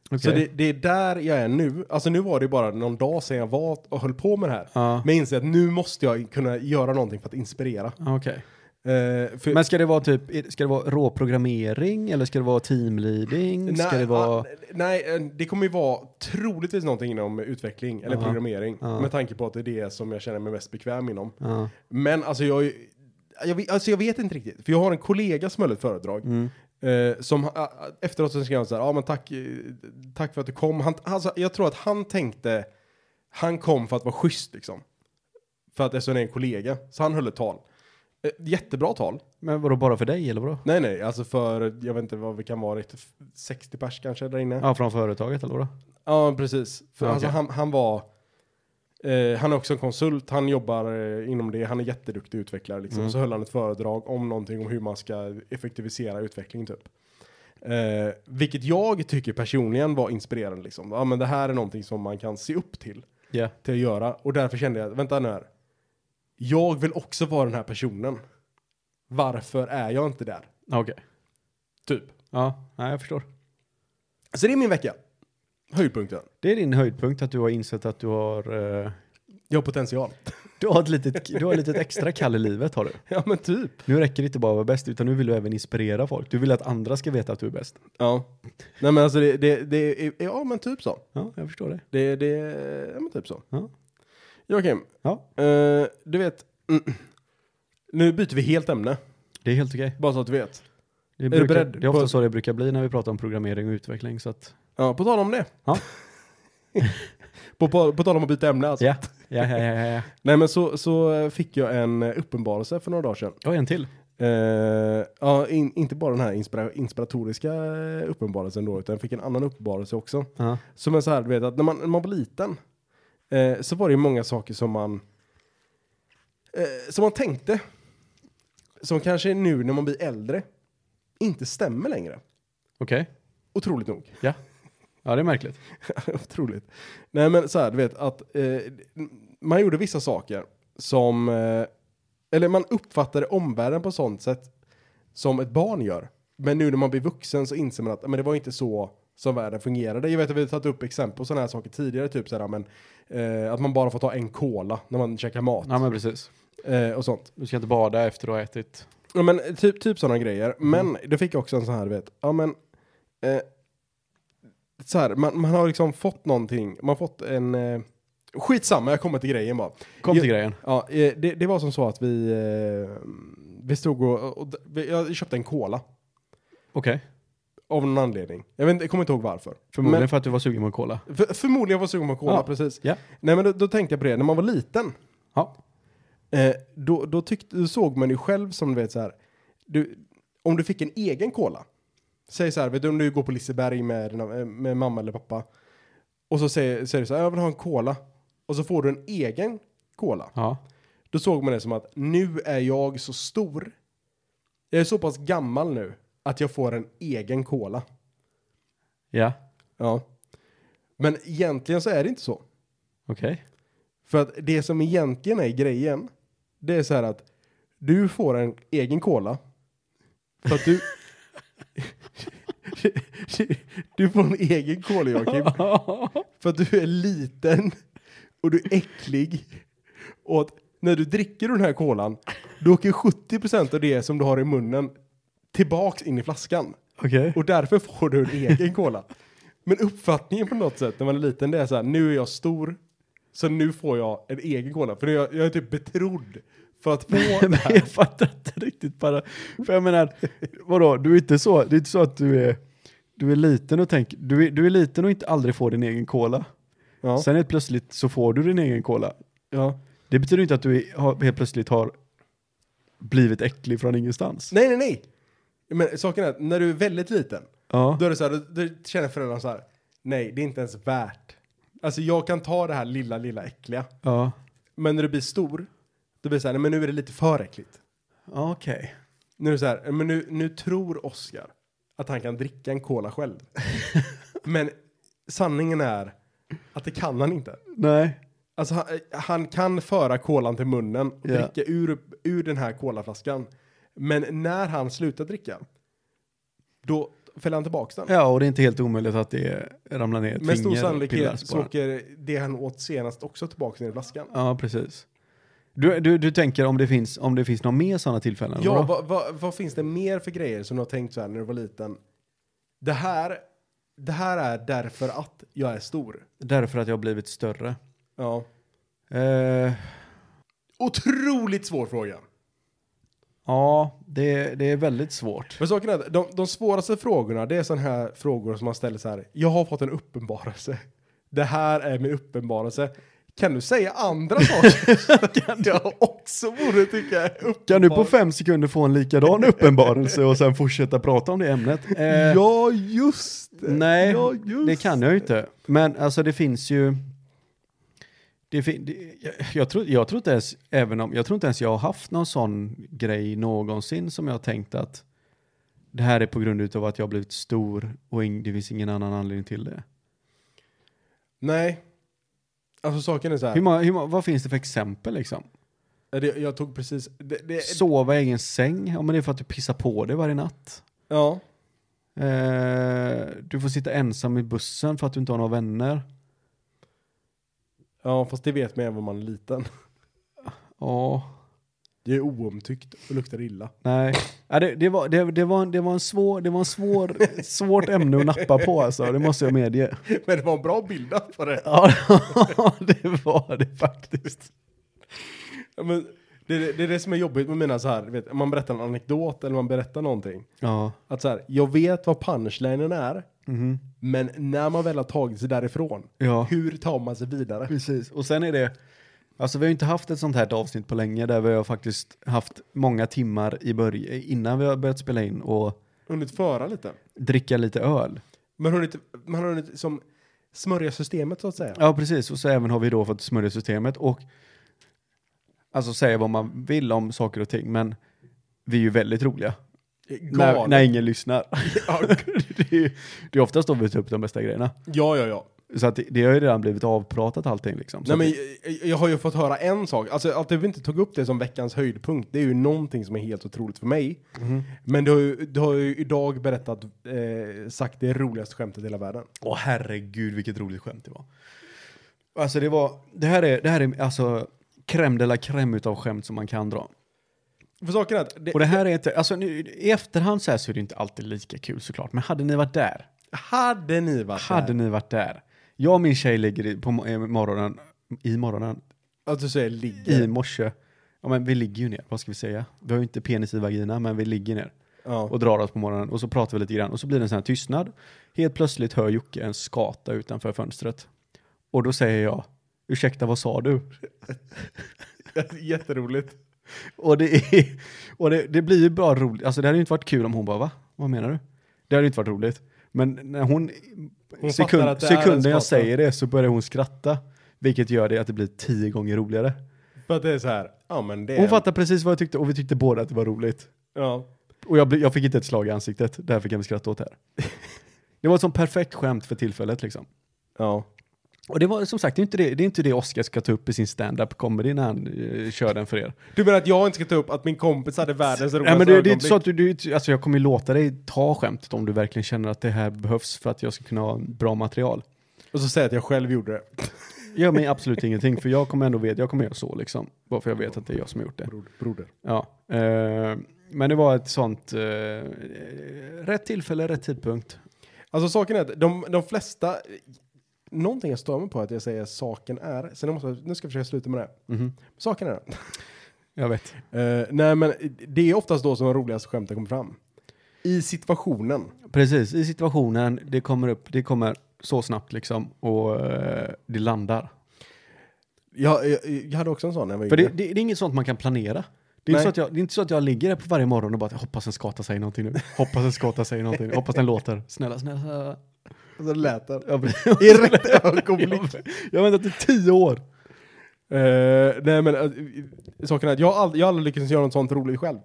S4: Så
S3: Okej.
S4: det, det är där jag är nu. Alltså nu var det ju bara någon dag sedan jag var och höll på med det här.
S3: Ja.
S4: Men jag inser att nu måste jag kunna göra någonting för att inspirera.
S3: Okej.
S4: Eh, för,
S3: Men ska det vara typ, är- ska det vara råprogrammering eller ska det vara teamleading? Ska det
S4: ah,
S3: vara...
S4: nej, eh, det kommer ju vara troligtvis någonting inom utveckling eller programmering. Med tanke på att det är det som jag känner mig mest bekväm inom.
S3: Ja.
S4: Men alltså jag, är ju- jag, vet- alltså jag vet inte riktigt. För jag har en kollega som höll ett föredrag. Eh, som ha- ah, efteråt så skrev han så här, ja ah, men tack, eh, tack för att du kom. Han, alltså, jag tror att han tänkte, han kom för att vara schysst liksom. För att eftersom det är en kollega. Så han höll ett tal. Eh, jättebra tal.
S3: Men vadå, bara för dig eller vadå?
S4: Nej nej, alltså för, jag vet inte vad vi kan vara riktigt, f- 60 pers kanske där inne.
S3: Ja, från företaget eller vadå?
S4: Ja, precis. För
S3: Ja,
S4: alltså,
S3: okej.
S4: han, han var... Eh, han är också en konsult, han jobbar eh, inom det, han är jätteduktig utvecklare liksom.
S3: Mm.
S4: Så höll han ett föredrag om någonting om hur man ska effektivisera utveckling typ. Eh, vilket jag tycker personligen var inspirerande liksom. Ja men det här är någonting som man kan se upp till,
S3: Ja.
S4: till att göra. Och därför kände jag, vänta nu här. Jag vill också vara den här personen. Varför är jag inte där?
S3: Okej.
S4: Typ.
S3: Ja, nej, jag förstår.
S4: Så det är min vecka. Höjdpunkten.
S3: Det är din höjdpunkt att du har insett att du har... eh,
S4: Jag har potential. (laughs)
S3: du, har ett litet, du har ett litet extra kall i livet har du.
S4: ja men typ.
S3: Nu räcker det inte bara att vara bäst, utan nu vill du även inspirera folk. Du vill att andra ska veta att du är bäst.
S4: Ja. Nej men alltså det, det, det är, ja men typ så.
S3: Ja, jag förstår det.
S4: Det, det, ja men typ så.
S3: Ja.
S4: Joakim,
S3: Ja,
S4: eh, du vet, mm, nu byter vi helt ämne,
S3: det är helt okej.
S4: bara så att du vet.
S3: Det, brukar-
S4: beredd
S3: det är ofta
S4: på-
S3: så det brukar bli när vi pratar om programmering och utveckling, så att...
S4: Ja, på tal om det.
S3: Ja.
S4: (laughs) på, på, på tal om att byta ämne alltså.
S3: Ja, ja, ja, ja, ja.
S4: Nej men så, så eh, fick jag en uppenbarelse för några dagar sedan.
S3: Jag har en till.
S4: Eh, ja, in, inte bara den här inspira, inspiratoriska eh, uppenbarelsen då, utan jag fick en annan uppenbarelse också.
S3: Ja.
S4: Som är så här, du vet att när man, när man var liten eh, så var det ju många saker som man eh, som man tänkte som kanske nu när man blir äldre inte stämmer längre.
S3: Okej.
S4: Otroligt nog.
S3: Ja. Ja, det är märkligt.
S4: (laughs) Otroligt. Nej men så här, du vet att eh, man gjorde vissa saker som eh, eller man uppfattade omvärlden på sånt sätt som ett barn gör. Men nu när man blir vuxen så inser man att men det var inte så som världen fungerade. Jag vet att vi har tagit upp exempel på sådana här saker tidigare, typ så här, men, eh, att man bara får ta en cola när man käkar mat
S3: Ja, men precis.
S4: eh, och sånt.
S3: Du ska inte bada efter att ha ätit.
S4: Ja men typ, typ sådana grejer.
S3: Mm.
S4: Men då fick jag också en sån här, du vet, ja men... Eh, så här, man, man har liksom fått någonting, man har fått en... Eh, skitsamma, jag kommer till grejen bara.
S3: Kom till
S4: Ja.
S3: grejen.
S4: Ja, eh, det, det var som så att vi... Eh, vi stod och... och, och jag köpte en cola.
S3: Okej.
S4: Av någon anledning. Jag, vet, inte- jag kommer inte ihåg varför.
S3: Förmodligen för att du var sugen på en cola.
S4: Men, för, förmodligen var jag sugen på cola,
S3: Ja.
S4: precis.
S3: Ja.
S4: Nej men då, då tänkte jag på det, när man var liten.
S3: Ja.
S4: Eh, då, då, tyckte, då såg man ju själv som du vet så här. Du, om du fick en egen cola. Säg så här, vet du om du går på Liseberg med, dina- eh, med mamma eller pappa. Och så säger, säger du så här, jag vill ha en cola. Och så får du en egen cola.
S3: Ja.
S4: Då såg man det som att nu är jag så stor. Jag är så pass gammal nu att jag får en egen cola.
S3: Ja.
S4: Ja. Men egentligen så är det inte så.
S3: Okej.
S4: För att det som egentligen är grejen, det är så här att du får en egen cola. För att du... (laughs) du får en egen cola, Joakim. För att du är liten och du är äcklig. Och att när du dricker den här colan, då åker 70% av det som du har i munnen tillbaks in i flaskan.
S3: Okej.
S4: Och därför får du en egen cola. Men uppfattningen på något sätt när man är liten det är så här, nu är jag stor, så nu får jag en egen cola. För nu är jag, jag är typ betrodd för att få
S3: (laughs)
S4: det
S3: (laughs) Men
S4: här.
S3: jag fattar inte riktigt bara. För jag menar, vadå, du är inte så, det är inte så att du är, du är liten och tänker, du är, du är liten och inte aldrig får din egen cola.
S4: Ja.
S3: Sen helt plötsligt så får du din egen cola.
S4: Ja.
S3: Det betyder inte att du är, har, helt plötsligt har blivit äcklig från ingenstans.
S4: Nej, nej, nej. Men saken är att när du är väldigt liten,
S3: Ja.
S4: då är det så här, då, då känner föräldrarna så här, nej, det är inte ens värt. Alltså jag kan ta det här lilla, lilla äckliga.
S3: Ja.
S4: Men när du blir stor, då blir det så här, nej, men nu är det lite för äckligt.
S3: Okej.
S4: Nu är det så här, men nu, nu tror Oscar att han kan dricka en cola
S3: (laughs)
S4: själv. men sanningen är att det kan han inte.
S3: Nej.
S4: Alltså han, han kan föra kolan till munnen och
S3: Ja.
S4: dricka ur, ur den här kolaflaskan. Men när han slutar dricka, då fäller han tillbaka den.
S3: Ja, och det är inte helt omöjligt att det ramlar ner ett
S4: Med stor
S3: finger och pillar
S4: sannolikhet
S3: på
S4: så
S3: den.
S4: åker det han åt senast också tillbaka ner i flaskan.
S3: Ja, precis. Du, du, du tänker om det finns, om det finns några mer sådana tillfällen?
S4: Ja,
S3: vadå?
S4: vad, vad, vad finns det mer för grejer som du har tänkt så här när du var liten? Det här, det här är därför att jag är stor.
S3: Därför att jag har blivit större.
S4: Ja.
S3: Eh,
S4: Otroligt svår fråga.
S3: ja, det, det är väldigt svårt.
S4: Men saken är att de, de svåraste frågorna, det är sådana här frågor som man ställer så här. Jag har fått en uppenbarelse. Det här är min uppenbarelse. Kan du säga
S3: (laughs)
S4: andra saker? kan (laughs) jag också borde tycka är uppenbar-
S3: Kan du på fem sekunder få en likadan uppenbarelse och sen fortsätta prata om det ämnet? Eh,
S4: Ja, just det.
S3: Nej,
S4: ja, just
S3: det kan jag ju inte. Men alltså det finns ju... Det fin, det, jag, jag, tror, jag, tror inte ens, även om, jag tror inte ens jag har haft någon sån grej någonsin som jag har tänkt att det här är på grund utav att jag har blivit stor och ing, det finns ingen annan anledning till det.
S4: Nej. Alltså saken är så här.
S3: Hur många, hur många, vad finns det för exempel liksom?
S4: Det, jag tog precis... Det, det,
S3: Sova i egen säng? Ja men det är för att du pissar på dig varje natt.
S4: Ja.
S3: Eh, du får sitta ensam i bussen för att du inte har några vänner.
S4: ja, fast det vet man även om man är liten.
S3: Ja.
S4: Det är oomtyckt och luktar illa.
S3: Nej, ja, det, det, var, det, det, var, en- det var en svår, det var en svår, svårt ämne att nappa på alltså, det måste jag medge.
S4: (laughs) Men det var en bra bild på det.
S3: (laughs)
S4: (laughs)
S3: Ja, det var det faktiskt.
S4: Ja, men det, det, det är det som är jobbigt med mina så här, vet, man berättar en anekdot eller man berättar någonting.
S3: Ja,
S4: Att så här, jag vet vad punchlinen är, Mhm. men när man väl har tagit sig därifrån,
S3: ja.
S4: hur tar man sig vidare?
S3: Precis, och sen är det, alltså vi har ju inte haft ett sånt här avsnitt på länge där vi har faktiskt haft många timmar i början, innan vi har börjat spela in och
S4: Hunnit föra lite.
S3: dricka lite öl.
S4: Men hunnit, man har hunnit som smörja systemet så att säga.
S3: Ja, precis. Och så även har vi då fått smörja systemet och alltså säga vad man vill om saker och ting, men vi är ju väldigt roliga. När,
S4: Galet.
S3: när ingen lyssnar.
S4: (laughs) Ja,
S3: (laughs) det, är ju, det är oftast då vi tar upp de bästa grejerna.
S4: ja, ja. ja.
S3: Så att det, det har ju redan blivit avpratat allting liksom. Så
S4: Nej, men
S3: att
S4: jag, jag har ju fått höra en sak, alltså att vi inte tog upp det som veckans höjdpunkt, det är ju någonting som är helt otroligt för mig.
S3: Mhm.
S4: Men du har ju, du har ju idag berättat, eh, sagt det roligaste skämtet i hela världen.
S3: det, åh herregud vilket roligt skämt det var. Alltså det var, det här är, det här är alltså crème de la crème utav skämt som man kan dra.
S4: För saken är att, det,
S3: Och det här är inte, alltså nu, i efterhand så här så är det inte alltid lika kul såklart, men hade ni varit där,
S4: hade ni varit
S3: hade
S4: där,
S3: ni varit där. Jag och min tjej ligger i- på mo- eh, morgonen, i morgonen,
S4: att du säger ligger.
S3: i morse. Ja men vi ligger ju ner, vad ska vi säga? Vi har ju inte penis i vagina, men vi ligger ner.
S4: Ja.
S3: och drar oss på morgonen och så pratar vi lite grann och så blir det en sån här tystnad. Helt plötsligt hör Jocke en skata utanför fönstret. Och då säger jag, ursäkta vad sa du?
S4: (laughs)
S3: (laughs)
S4: Jätteroligt.
S3: Och det, är, och det, det blir ju bra roligt, alltså det hade ju inte varit kul om hon bara va? Vad menar du? Det hade ju inte varit roligt. Men när hon,
S4: Hon
S3: sekund,
S4: fattar att det är en
S3: sekunden jag
S4: skata.
S3: säger det så börjar hon skratta. Vilket gör det att det blir tio gånger roligare.
S4: För att det är så här, ja men det är...
S3: Hon fattar precis vad jag tyckte och vi tyckte båda att det var roligt.
S4: Ja.
S3: Och jag, blev- jag fick inte ett slag i ansiktet, därför kan vi skratta åt det här. (laughs) Det var ett sånt perfekt skämt för tillfället liksom.
S4: Ja.
S3: Och det var som sagt, det är inte det, det, är inte det Oscar ska ta upp i sin stand-up comedy när han eh, kör den för er.
S4: Du menar att jag inte ska ta upp att min kompis hade världens roligaste
S3: Nej, men det, det är inte
S4: ögonblick?
S3: så att du, du, alltså jag kommer ju låta dig ta skämtet om du verkligen känner att det här behövs för att jag ska kunna ha bra material.
S4: Och så säger jag att jag själv gjorde det.
S3: Gör mig absolut ingenting, för jag kommer ändå veta, jag kommer göra så liksom. Bara för jag vet att det är jag som har gjort det.
S4: Broder.
S3: Ja, eh, men det var ett sånt, eh, rätt tillfälle, rätt tidpunkt.
S4: Alltså saken är att de, de flesta... Någonting jag stör mig på att jag säger saken är. Sen måste jag, nu ska jag försöka sluta med det.
S3: Mhm.
S4: Saken är.
S3: Jag vet.
S4: Eh, nej men det är oftast då som de roligaste skämten kommer fram. I situationen.
S3: Precis, i situationen, det kommer upp, det kommer så snabbt liksom och eh, det landar.
S4: Jag, jag, jag hade också en sån när jag var
S3: För det,
S4: yngre.
S3: det, det är inget sånt man kan planera. Det är,
S4: Nej.
S3: inte så att jag, det är inte så att jag ligger där på varje morgon och bara "Jag hoppas den skata säger någonting nu. Hoppas den skata säger någonting nu. Hoppas den låter. (laughs) Snälla, snälla, snälla.
S4: Alltså det lät (laughs) det.
S3: Jag, blir-
S4: I rätt ögonblick.
S3: jag har väntat i tio år.
S4: Eh, nej men eh, saken är att jag har aldrig, jag har aldrig lyckats göra något sånt roligt
S3: (laughs)
S4: själv.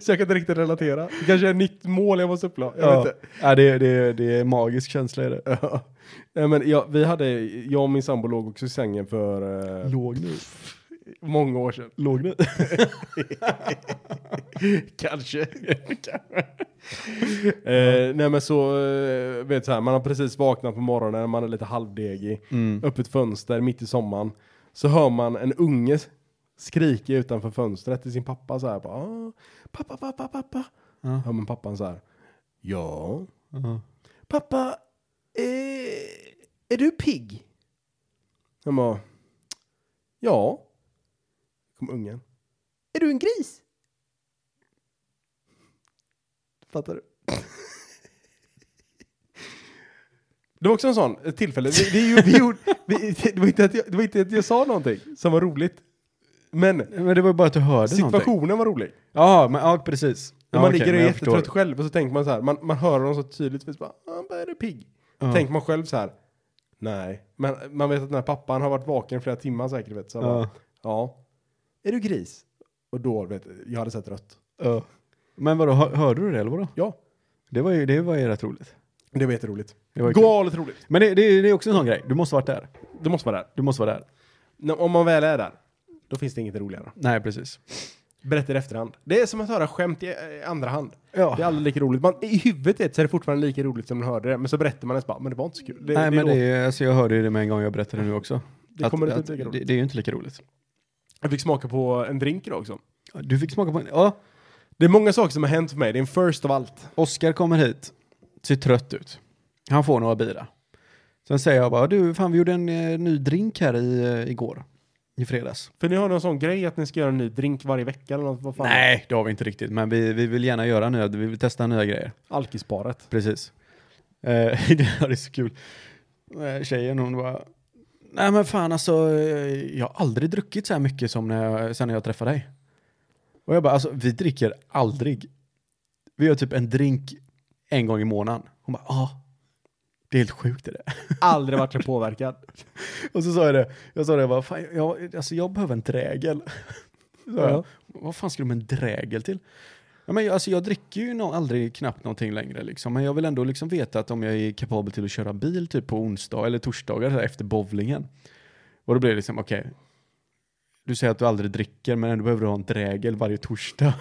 S4: så jag kan inte riktigt relatera. Det kanske är ett nytt mål jag måste uppnå. Jag vet
S3: Ja.
S4: inte.
S3: Ja, det, det, det är en magisk känsla är det.
S4: (laughs) Ja. Nej, men jag, vi hade, jag och min sambo låg också i sängen för eh,
S3: Låg nu.
S4: många år sedan.
S3: Låg nu. (laughs)
S4: Kanske. (laughs) eh, nej men så, eh, vet så här, man har precis vaknat på morgonen, man är lite halvdegig.
S3: Mm.
S4: Öppet fönster mitt i sommaren. Så hör man en unge skrika utanför fönstret till sin pappa så här. Bara, "Ah, pappa, pappa, pappa.
S3: Ja.
S4: Hör man pappan så här. Ja.
S3: Ja.
S4: Pappa, eh, är du pigg? Han bara, ja. Kom ungen. Är du en gris? Fattar du? (laughs) Det var också en sån ett tillfälle. Vi, det, är ju- (laughs) vi gjorde, vi, det, var inte att jag, det var inte att jag sa någonting som var roligt. Men
S3: (laughs) Men det var ju bara att du hörde någonting.
S4: situationen var rolig.
S3: Ja, men, ja precis. Ja,
S4: man
S3: okej,
S4: ligger och
S3: men
S4: är
S3: jag
S4: jättetrött
S3: förstår.
S4: själv och så tänker man så här. Man, man hör honom så tydligt. Bara, ah, bara, är du pigg?
S3: Ja.
S4: Tänker man själv så här. Nej. Men man vet att den här pappan har varit vaken i flera timmar säkert. Vet, så ja. Bara,
S3: Ja.
S4: ja. Är du gris? Och då, vet jag hade sett rött.
S3: Ja. Men vadå, hör, hörde du det eller vadå?
S4: Ja.
S3: Det var ju, det var ju rätt roligt.
S4: Det var jätteroligt.
S3: Det var ju kul.
S4: Galet roligt.
S3: Men det, det, det är också en sån grej, du måste varit där.
S4: Du måste vara där.
S3: Du måste vara där.
S4: Nå- Om man väl är där. Då finns det inget roligare.
S3: Nej, precis.
S4: Berätta i efterhand. Det är som att höra skämt i, eh, i andra hand.
S3: Ja.
S4: Det är aldrig lika roligt. Man, I huvudet så är det fortfarande lika roligt som man hörde det. Men så berättar man ens bara, men det var inte så kul. Det,
S3: Nej, men
S4: låter-
S3: det är, alltså jag hörde ju det med en gång, jag berättade det nu också.
S4: Det kommer inte bli lika roligt.
S3: det, det är ju inte lika roligt.
S4: Jag fick smaka på en drink idag också.
S3: Du fick smaka på en, ja,
S4: Det är många saker som har hänt för mig. Det är en first av allt.
S3: Oskar kommer hit, ser trött ut. Han får några bira. Sen säger jag bara, du, fan vi gjorde en eh, ny drink här i, eh, igår, i fredags.
S4: För ni har någon sån grej att ni ska göra en ny drink varje vecka eller något. Vad fan?
S3: Nej, det har vi inte riktigt, men vi, vi vill gärna göra nya, vi vill testa nya grejer. (laughs)
S4: Alkisparet.
S3: Precis. Eh, (laughs) det är så kul. Eh, Tjejen hon bara, nej men fan alltså, eh, jag har aldrig druckit så här mycket som när jag, sen när jag träffade dig. Och jag bara, alltså vi dricker aldrig. Vi gör typ en drink en gång i månaden. Hon bara, ja. Ah, det är helt sjukt det där.
S4: Aldrig varit så påverkad.
S3: (laughs) Och så sa jag det, jag sa det, jag bara, fan, jag, alltså jag behöver en drägel. (laughs) Så sa jag, vad fan ska du med en drägel till? Ja, men jag, alltså jag dricker ju nå- aldrig knappt någonting längre liksom, men jag vill ändå liksom veta att om jag är kapabel till att köra bil typ på onsdag eller torsdagar så här, efter bowlingen. Och då blir det liksom, okej, du säger att du aldrig dricker men ändå behöver du ha en drägel varje torsdag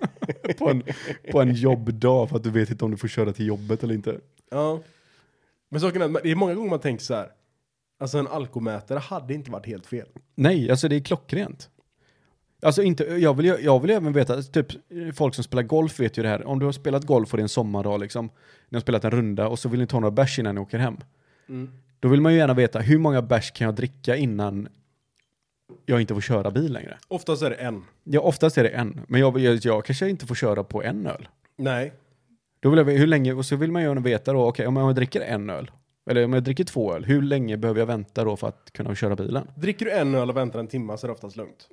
S3: (laughs) på, en, på en jobbdag för att du vet inte om du får köra till jobbet eller inte.
S4: (laughs) Ja. Men saken är, att det är många gånger man tänker så här. Alltså en alkomätare hade inte varit helt fel.
S3: Nej, alltså det är klockrent. Alltså inte, jag vill ju, jag vill ju även veta, typ folk som spelar golf vet ju det här, om du har spelat golf och det är en sommardag liksom, ni har spelat en runda och så vill ni ta några bärs innan ni åker hem. Då vill man ju gärna veta, hur många bärs kan jag dricka innan jag inte får köra bil längre.
S4: Oftast är det en.
S3: Ja, oftast är det en, men jag, jag, jag kanske inte får köra på en öl.
S4: Nej.
S3: Då vill jag, hur länge, och så vill man ju veta då, okej, om jag dricker en öl, eller om jag dricker två öl, hur länge behöver jag vänta då för att kunna köra bilen?
S4: Dricker du en öl och väntar en timme så är det oftast lugnt.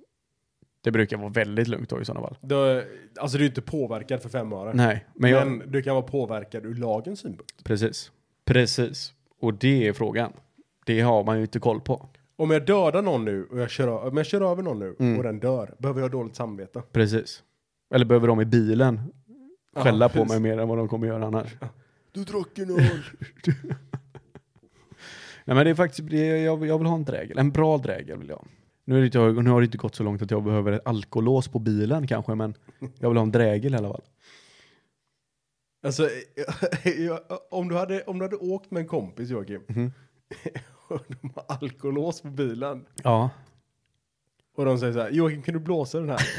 S3: Det brukar vara väldigt lugnt då i sådana fall.
S4: Då, alltså du är inte påverkad för fem öre.
S3: Nej, men
S4: Men,
S3: jag,
S4: du kan vara påverkad ur lagens synpunkt.
S3: precis. Precis. Och det är frågan. Det har man ju inte koll på.
S4: Om jag dödar någon nu och jag kör, om jag kör över någon nu
S3: Mm.
S4: och den dör, behöver jag dåligt samvete?
S3: Precis. Eller behöver de i bilen skälla
S4: Ja,
S3: på
S4: precis.
S3: mig mer än vad de kommer göra annars?
S4: Du drack en öl.
S3: Nej men det är faktiskt, det är, jag, jag vill ha en drägel. En bra drägel vill jag. Nu, är det, inte jag- nu har det inte gått så långt att jag behöver ett alkolås på bilen kanske, men jag vill ha en drägel i alla fall.
S4: (laughs) Alltså, (laughs) jag, om, du hade, om du hade åkt med en kompis, Joakim,
S3: Mhm.
S4: (laughs) och de har alkolås på bilen,
S3: Ja.
S4: och de säger så här, Joakim kan du blåsa den här? (laughs)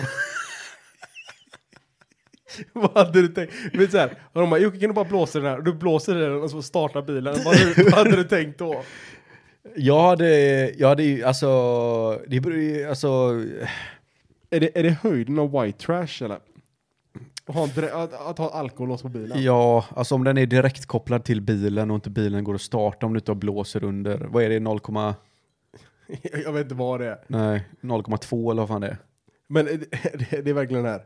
S4: Vad hade du tänkt? Men så här, och de bara, Joakim kan du bara blåsa den här? Och du blåser den och så startar bilen. Vad hade, vad hade du tänkt då?
S3: Jag hade, jag hade ju, alltså, det beror ju, alltså,
S4: Är det, är det höjden av white trash eller? Att ha, en drä- att, att ha alkolås på bilen?
S3: ja, alltså om den är direkt kopplad till bilen och inte bilen går att starta om du inte har blåser under, vad är det, 0,
S4: (laughs) Jag vet inte vad det är.
S3: nej, 0,2 eller vad fan det är?
S4: Men det, det, (laughs) det är verkligen det här.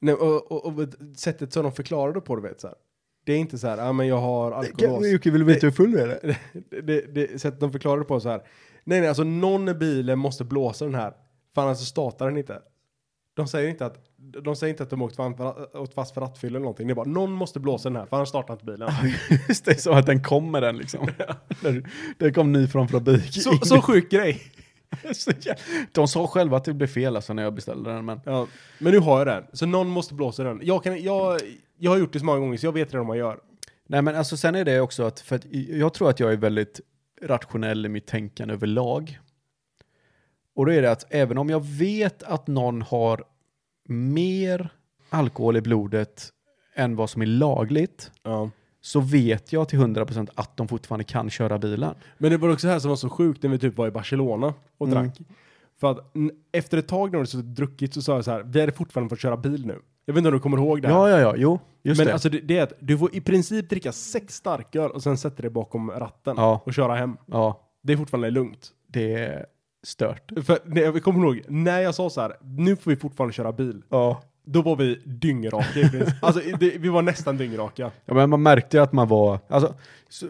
S4: Nej, och, och, och sättet som de förklarade på det, vet så här. Det är inte så här, ah, men jag har alkolås.
S3: Jocke, vill du veta hur full du är?
S4: (laughs) Det, det, det, sättet de förklarade det på så här. Nej, nej, alltså någon i bilen måste blåsa den här. För annars så startar den inte. De säger inte att de säger inte att de åkt fan för- åkt fast för rattfylla eller någonting. Det är bara någon måste blåsa den här för annars startar inte bilen.
S3: (laughs) Just det, så att den kommer den liksom. (laughs) Den- Den kom ny från fabrik.
S4: Så,
S3: (laughs)
S4: så sjuk grej.
S3: Så jä- De sa själva att det blev fel alltså när jag beställde den, men
S4: Ja, men nu har jag den. Så någon måste blåsa den. Jag, kan, jag, jag har gjort det så många gånger så jag vet redan vad man gör.
S3: Nej men alltså sen är det också att, för att jag tror att jag är väldigt rationell i mitt tänkande överlag. Och då är det att även om jag vet att någon har mer alkohol i blodet än vad som är lagligt
S4: Ja.
S3: så vet jag till 100% att de fortfarande kan köra bilen.
S4: Men det var också här som var så sjukt när vi typ var i Barcelona och
S3: Mm.
S4: drack. För att n- efter ett tag när vi hade druckit så sa jag så här, vi hade fortfarande fått köra bil nu. Jag vet inte om du kommer ihåg det här.
S3: Ja, ja, ja, jo, just
S4: Men
S3: det.
S4: alltså det, det är att du får i princip dricka sex starköl och sen sätter dig bakom ratten
S3: Ja.
S4: och köra hem.
S3: ja,
S4: Det är fortfarande lugnt.
S3: det är stört.
S4: För när jag kommer ihåg, när jag sa så här, nu får vi fortfarande köra bil.
S3: Ja.
S4: Då var vi dyngraka. i princip.
S3: (laughs)
S4: alltså det, vi var nästan dyngraka.
S3: Ja, men man märkte ju att man var, alltså, så,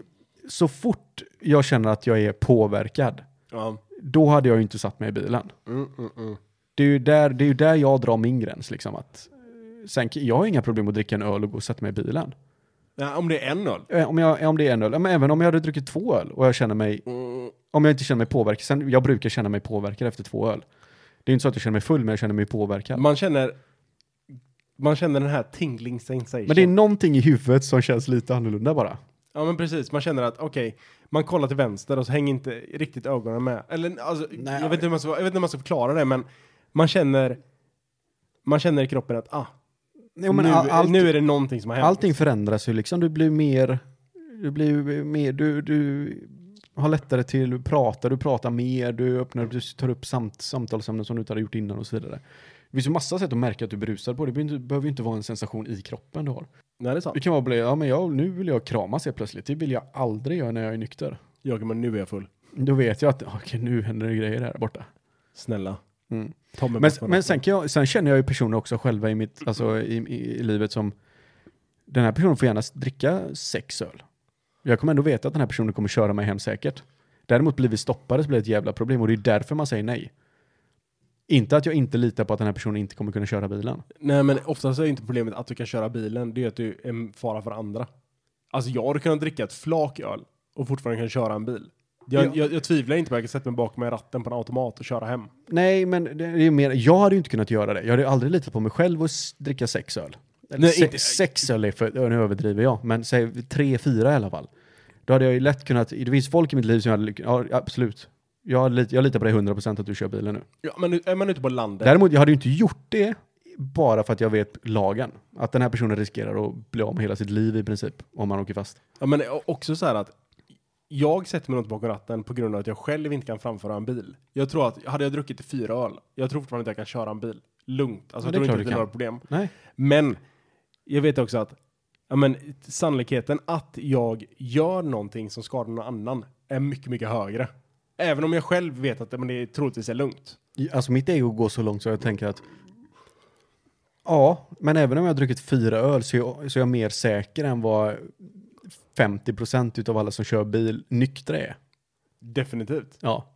S3: så fort jag känner att jag är påverkad,
S4: Ja.
S3: då hade jag ju inte satt mig i bilen.
S4: Mm, mm, mm.
S3: Det är ju där, det är ju där jag drar min gräns. Liksom, att, eh, sen, jag har inga problem att dricka en öl och gå och sätta mig i bilen.
S4: Nej, om det är en öl.
S3: Eh, Om, jag, om det är en öl, ja, men även om jag hade druckit två öl och jag känner mig,
S4: Mm.
S3: om jag inte känner mig påverkad, sen, jag brukar känna mig påverkad efter två öl. Det är inte så att jag känner mig full, men jag känner mig påverkad.
S4: Man känner, man känner den här tingling sensation.
S3: Men det är någonting i huvudet som känns lite annorlunda bara.
S4: Ja men precis, man känner att okej, man kollar till vänster och så hänger inte riktigt ögonen med. Eller alltså,
S3: Nej,
S4: jag, vet inte hur man ska, jag vet inte hur man ska förklara det men man känner, man känner i kroppen att ah,
S3: Jo,
S4: nu, nu är det någonting som har hänt.
S3: Allting förändras ju liksom. Du blir mer, du blir ju mer, du, du har lättare till att prata, du pratar mer, du öppnar, du tar upp samt, samtalsämnen som du inte hade gjort innan och så vidare. Det finns ju massa sätt att märka att du är berusad på. Det behöver inte- behöver ju inte vara en sensation i kroppen du har.
S4: Nej det är sant.
S3: Det kan vara, bli- ja men jag, nu vill jag kramas helt plötsligt. Det vill jag aldrig göra när jag är nykter.
S4: Jag, men nu är jag full.
S3: Då vet jag att, okej nu händer det grejer här borta.
S4: Snälla.
S3: Mm.
S4: Ta mig
S3: Men,
S4: bort från
S3: men
S4: detta.
S3: sen, kan jag, sen känner jag ju personer också själva i, mitt, alltså i, i, i livet som den här personen får gärna dricka sex öl. Jag kommer ändå veta att den här personen kommer köra mig hem säkert. Däremot blir vi stoppade så blir det ett jävla problem och det är därför man säger nej. Inte att jag inte litar på att den här personen inte kommer kunna köra bilen.
S4: Nej men oftast är ju inte problemet att du kan köra bilen, det är att du är en fara för andra. Alltså jag hade kunnat dricka ett flak öl och fortfarande kan köra en bil. Jag,
S3: Ja.
S4: jag, jag tvivlar inte på att jag kan sätta mig bakom mig i ratten på en automat och köra hem.
S3: Nej, men det är ju mer, jag hade ju inte kunnat göra det. Jag hade ju aldrig litat på mig själv och s- dricka sex öl.
S4: Nej,
S3: Se,
S4: inte-
S3: Sex öl är för, ja, nu överdriver jag, men säg tre, fyra i alla fall. Då hade jag ju lätt kunnat, det finns folk i mitt liv som jag hade, lyck- ja absolut. Jag, lit, jag litar på dig 100% att du kör bilen nu.
S4: Ja, men är man ute på landet,
S3: Däremot, jag hade ju inte gjort det bara för att jag vet lagen. Att den här personen riskerar att bli av med hela sitt liv i princip, om man åker fast.
S4: Ja, men också så här att jag sätter mig nog inte bakom ratten på grund av att jag själv inte kan framföra en bil. Jag tror att, hade jag druckit fyra öl, jag tror fortfarande inte jag kan köra en bil. Lugnt. Alltså,
S3: Ja,
S4: jag
S3: det är
S4: tror inte
S3: klart
S4: att
S3: du
S4: det är
S3: kan.
S4: några problem.
S3: Nej.
S4: Men jag vet också att ja, men, sannolikheten att jag gör någonting som skadar någon annan är mycket, mycket högre. Även om jag själv vet att men, det är, troligtvis är lugnt.
S3: Alltså mitt ego går så långt så jag tänker att ja, men även om jag har druckit fyra öl så är jag, så är jag mer säker än vad 50% utav alla som kör bil nyktra är.
S4: Definitivt.
S3: Ja.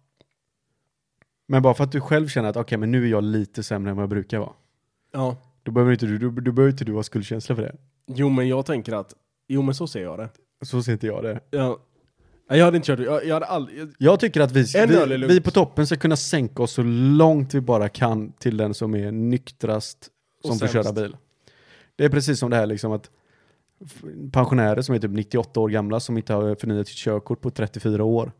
S3: Men bara för att du själv känner att okej, men nu är jag lite sämre än vad jag brukar vara.
S4: Ja.
S3: Då behöver inte du, du, du, behöver inte du ha skuldkänsla för det.
S4: Jo, men jag tänker att, jo, men så ser jag det.
S3: Så ser inte jag det.
S4: Ja. Nej, Jag hade inte kört, jag, jag hade aldrig,
S3: Jag tycker att vi,
S4: En öl är
S3: vi,
S4: lugnt.
S3: vi på toppen ska kunna sänka oss så långt vi bara kan till den som är nyktrast
S4: Och
S3: som får
S4: sämst.
S3: köra bil. Det är precis som det här liksom att f- pensionärer som är typ 98 år gamla som inte har förnyat sitt körkort på 34 år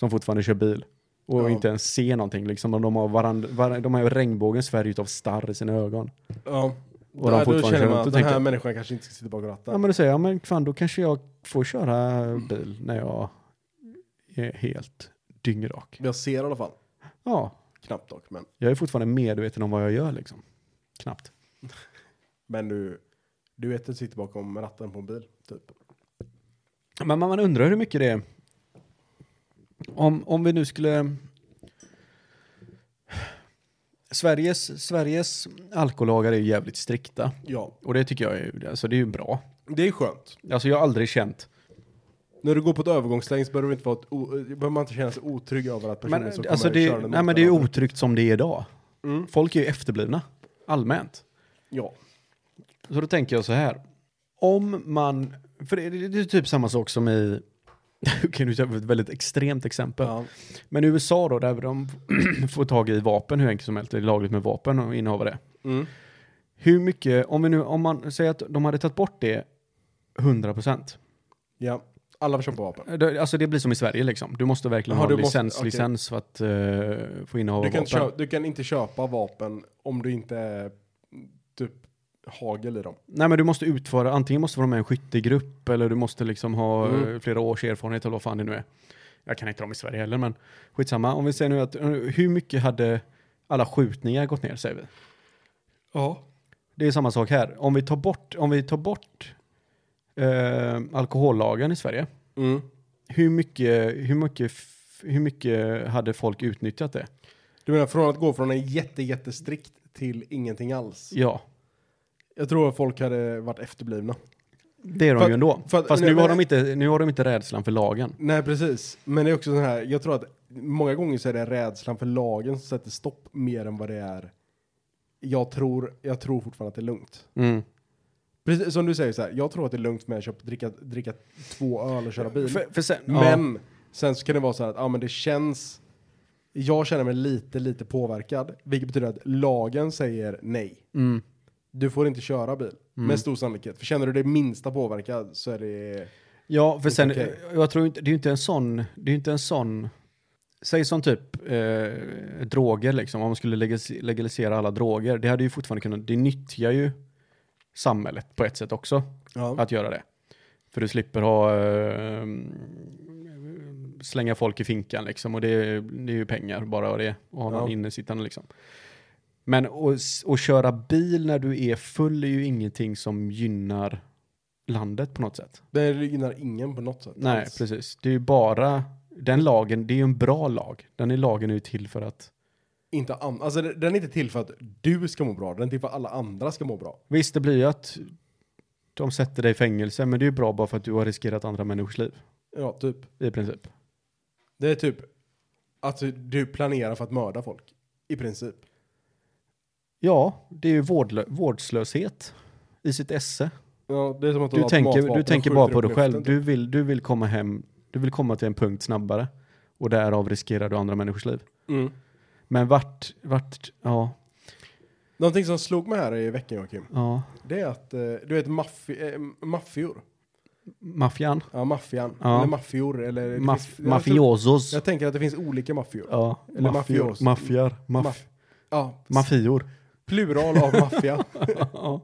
S3: som fortfarande kör bil och
S4: Ja.
S3: inte ens ser någonting. Liksom, de, har varand, varand, de har ju regnbågens färg utav starr i sina ögon.
S4: ja.
S3: Och de
S4: Ja, då
S3: fortfarande kör
S4: känner man
S3: runt
S4: att
S3: och
S4: den här
S3: tänker-
S4: människan kanske inte ska sitta bakom ratten.
S3: Ja, men då säger jag, men fan då kanske jag får köra bil när jag är helt dyngrak.
S4: Jag ser i alla fall.
S3: Ja,
S4: Knappt dock, men,
S3: Jag är fortfarande medveten om vad jag gör liksom. Knappt.
S4: men du, du vet att du sitter bakom ratten på en bil, typ.
S3: Men man, man undrar hur mycket det är. Om, om vi nu skulle... Sveriges, Sveriges alkohollagar är ju jävligt strikta.
S4: Ja,
S3: Och det tycker jag är, alltså det är ju bra.
S4: det är skönt.
S3: Alltså jag har aldrig känt.
S4: När du går på ett övergångsläge så behöver, du inte vara ett o- behöver man inte känna sig otrygg över att personen
S3: Men,
S4: som
S3: alltså
S4: kommer
S3: det,
S4: körande
S3: nej,
S4: mot
S3: men det är ju
S4: varandra.
S3: otryggt som det är idag.
S4: Mm.
S3: Folk är ju efterblivna. Allmänt.
S4: Ja,
S3: Så då tänker jag så här. Om man, för det, det, det är typ samma sak som i, (laughs) kan du ta ett väldigt extremt exempel.
S4: ja.
S3: Men i USA då, där de (clears throat) får tag i vapen hur enkelt som helst, det är lagligt med vapen och innehav det.
S4: Mm.
S3: Hur mycket, om vi nu, om man säger att de hade tagit bort det 100%.
S4: ja. Alla får köpa vapen.
S3: Det- Alltså det blir som i Sverige liksom. Du måste verkligen
S4: Jaha,
S3: ha
S4: du måste-
S3: licens,
S4: okej.
S3: licens för att eh, få inneha
S4: Du kan,
S3: vapen.
S4: inte köpa, du kan inte köpa vapen om du inte är typ hagel i dem.
S3: Nej men du måste utföra, antingen måste du vara med i en skyttegrupp eller du måste liksom ha
S4: Mm.
S3: eh, flera års erfarenhet eller vad fan det nu är. Jag kan inte dem i Sverige heller men skitsamma. Om vi säger nu att, eh, hur mycket hade alla skjutningar gått ner säger vi?
S4: Ja.
S3: Det är samma sak här. Om vi tar bort, om vi tar bort eh, alkohollagen i Sverige,
S4: Mm.
S3: hur mycket, hur, mycket, f- hur mycket hade folk utnyttjat det?
S4: Du menar från att gå från en jätte, jättestrikt till ingenting alls?
S3: Ja,
S4: Jag tror att folk hade varit efterblivna.
S3: det är de
S4: För att-
S3: ju ändå.
S4: för att-
S3: Fast
S4: nej,
S3: nu, har
S4: men-
S3: de inte, nu har de inte rädslan för lagen.
S4: Nej, precis. Men det är också den här, jag tror att många gånger så är det rädslan för lagen som sätter stopp mer än vad det är. Jag tror, jag tror fortfarande att det är lugnt. Precis som du säger så här, jag tror att det är lugnt med att köpa, dricka, dricka två öl och köra bil.
S3: För, för sen, ja,
S4: Men sen så kan det vara så här att ja, men det känns... Jag känner mig lite, lite påverkad. Vilket betyder att lagen säger nej.
S3: mm,
S4: Du får inte köra bil.
S3: Mm.
S4: Med stor sannolikhet. För känner du dig minsta påverkad så är det...
S3: ja, för sen, eh,
S4: Okej.
S3: jag tror inte, det är ju inte en sån, det är ju inte en sån, säg som typ eh, droger liksom, om man skulle legalis- legalisera alla droger, det hade ju fortfarande kunnat, det nyttjar ju samhället på ett sätt också.
S4: Ja.
S3: att göra det. För du slipper ha eh, slänga folk i finkan liksom och det, är- det är ju pengar bara och det och ha någon
S4: Ja.
S3: innesittande liksom. Men att s- att köra bil när du är full är ju ingenting som gynnar landet på något sätt.
S4: Det gynnar ingen på något sätt. Alltså,
S3: Nej,
S4: alls.
S3: precis. Det är ju bara den lagen, det är ju en bra lag. Den är lagen är ju till för att
S4: Inte an- alltså, det- den är inte till för att du ska må bra. Den är till för att alla andra ska må bra.
S3: visst det blir ju att de sätter dig i fängelse men det är ju bra bara för att du har riskerat andra människors liv
S4: Ja, typ.
S3: i princip.
S4: Det är typ att du planerar för att mörda folk. I princip.
S3: Ja, det är ju vårdlö- vårdslöshet i sitt esse.
S4: Ja, det är som att
S3: Du
S4: har ett matvapen
S3: tänker, du
S4: och
S3: tänker
S4: skjuter
S3: bara på
S4: upp
S3: dig
S4: luften,
S3: själv.
S4: typ.
S3: Du vill, du vill komma hem, du vill komma till en punkt snabbare och därav riskerar du andra människors liv.
S4: Mm.
S3: Men vart, vart, ja,
S4: Någonting som slog mig här i veckan, Joakim,
S3: ja,
S4: det är att eh, du vet maffi, eh, maffior.
S3: maffian,
S4: Ja, maffian.
S3: Ja.
S4: Eller maffior. Eller Eh, det
S3: Maf-
S4: finns- jag tror-
S3: mafiosos.
S4: Jag tänker att det finns olika maffior. Ja.
S3: Ja,
S4: eller
S3: maffior,
S4: mafios.
S3: maffiar, maf-
S4: Maff- s-
S3: mafior.
S4: (laughs) Plural av maffia.
S3: Ja.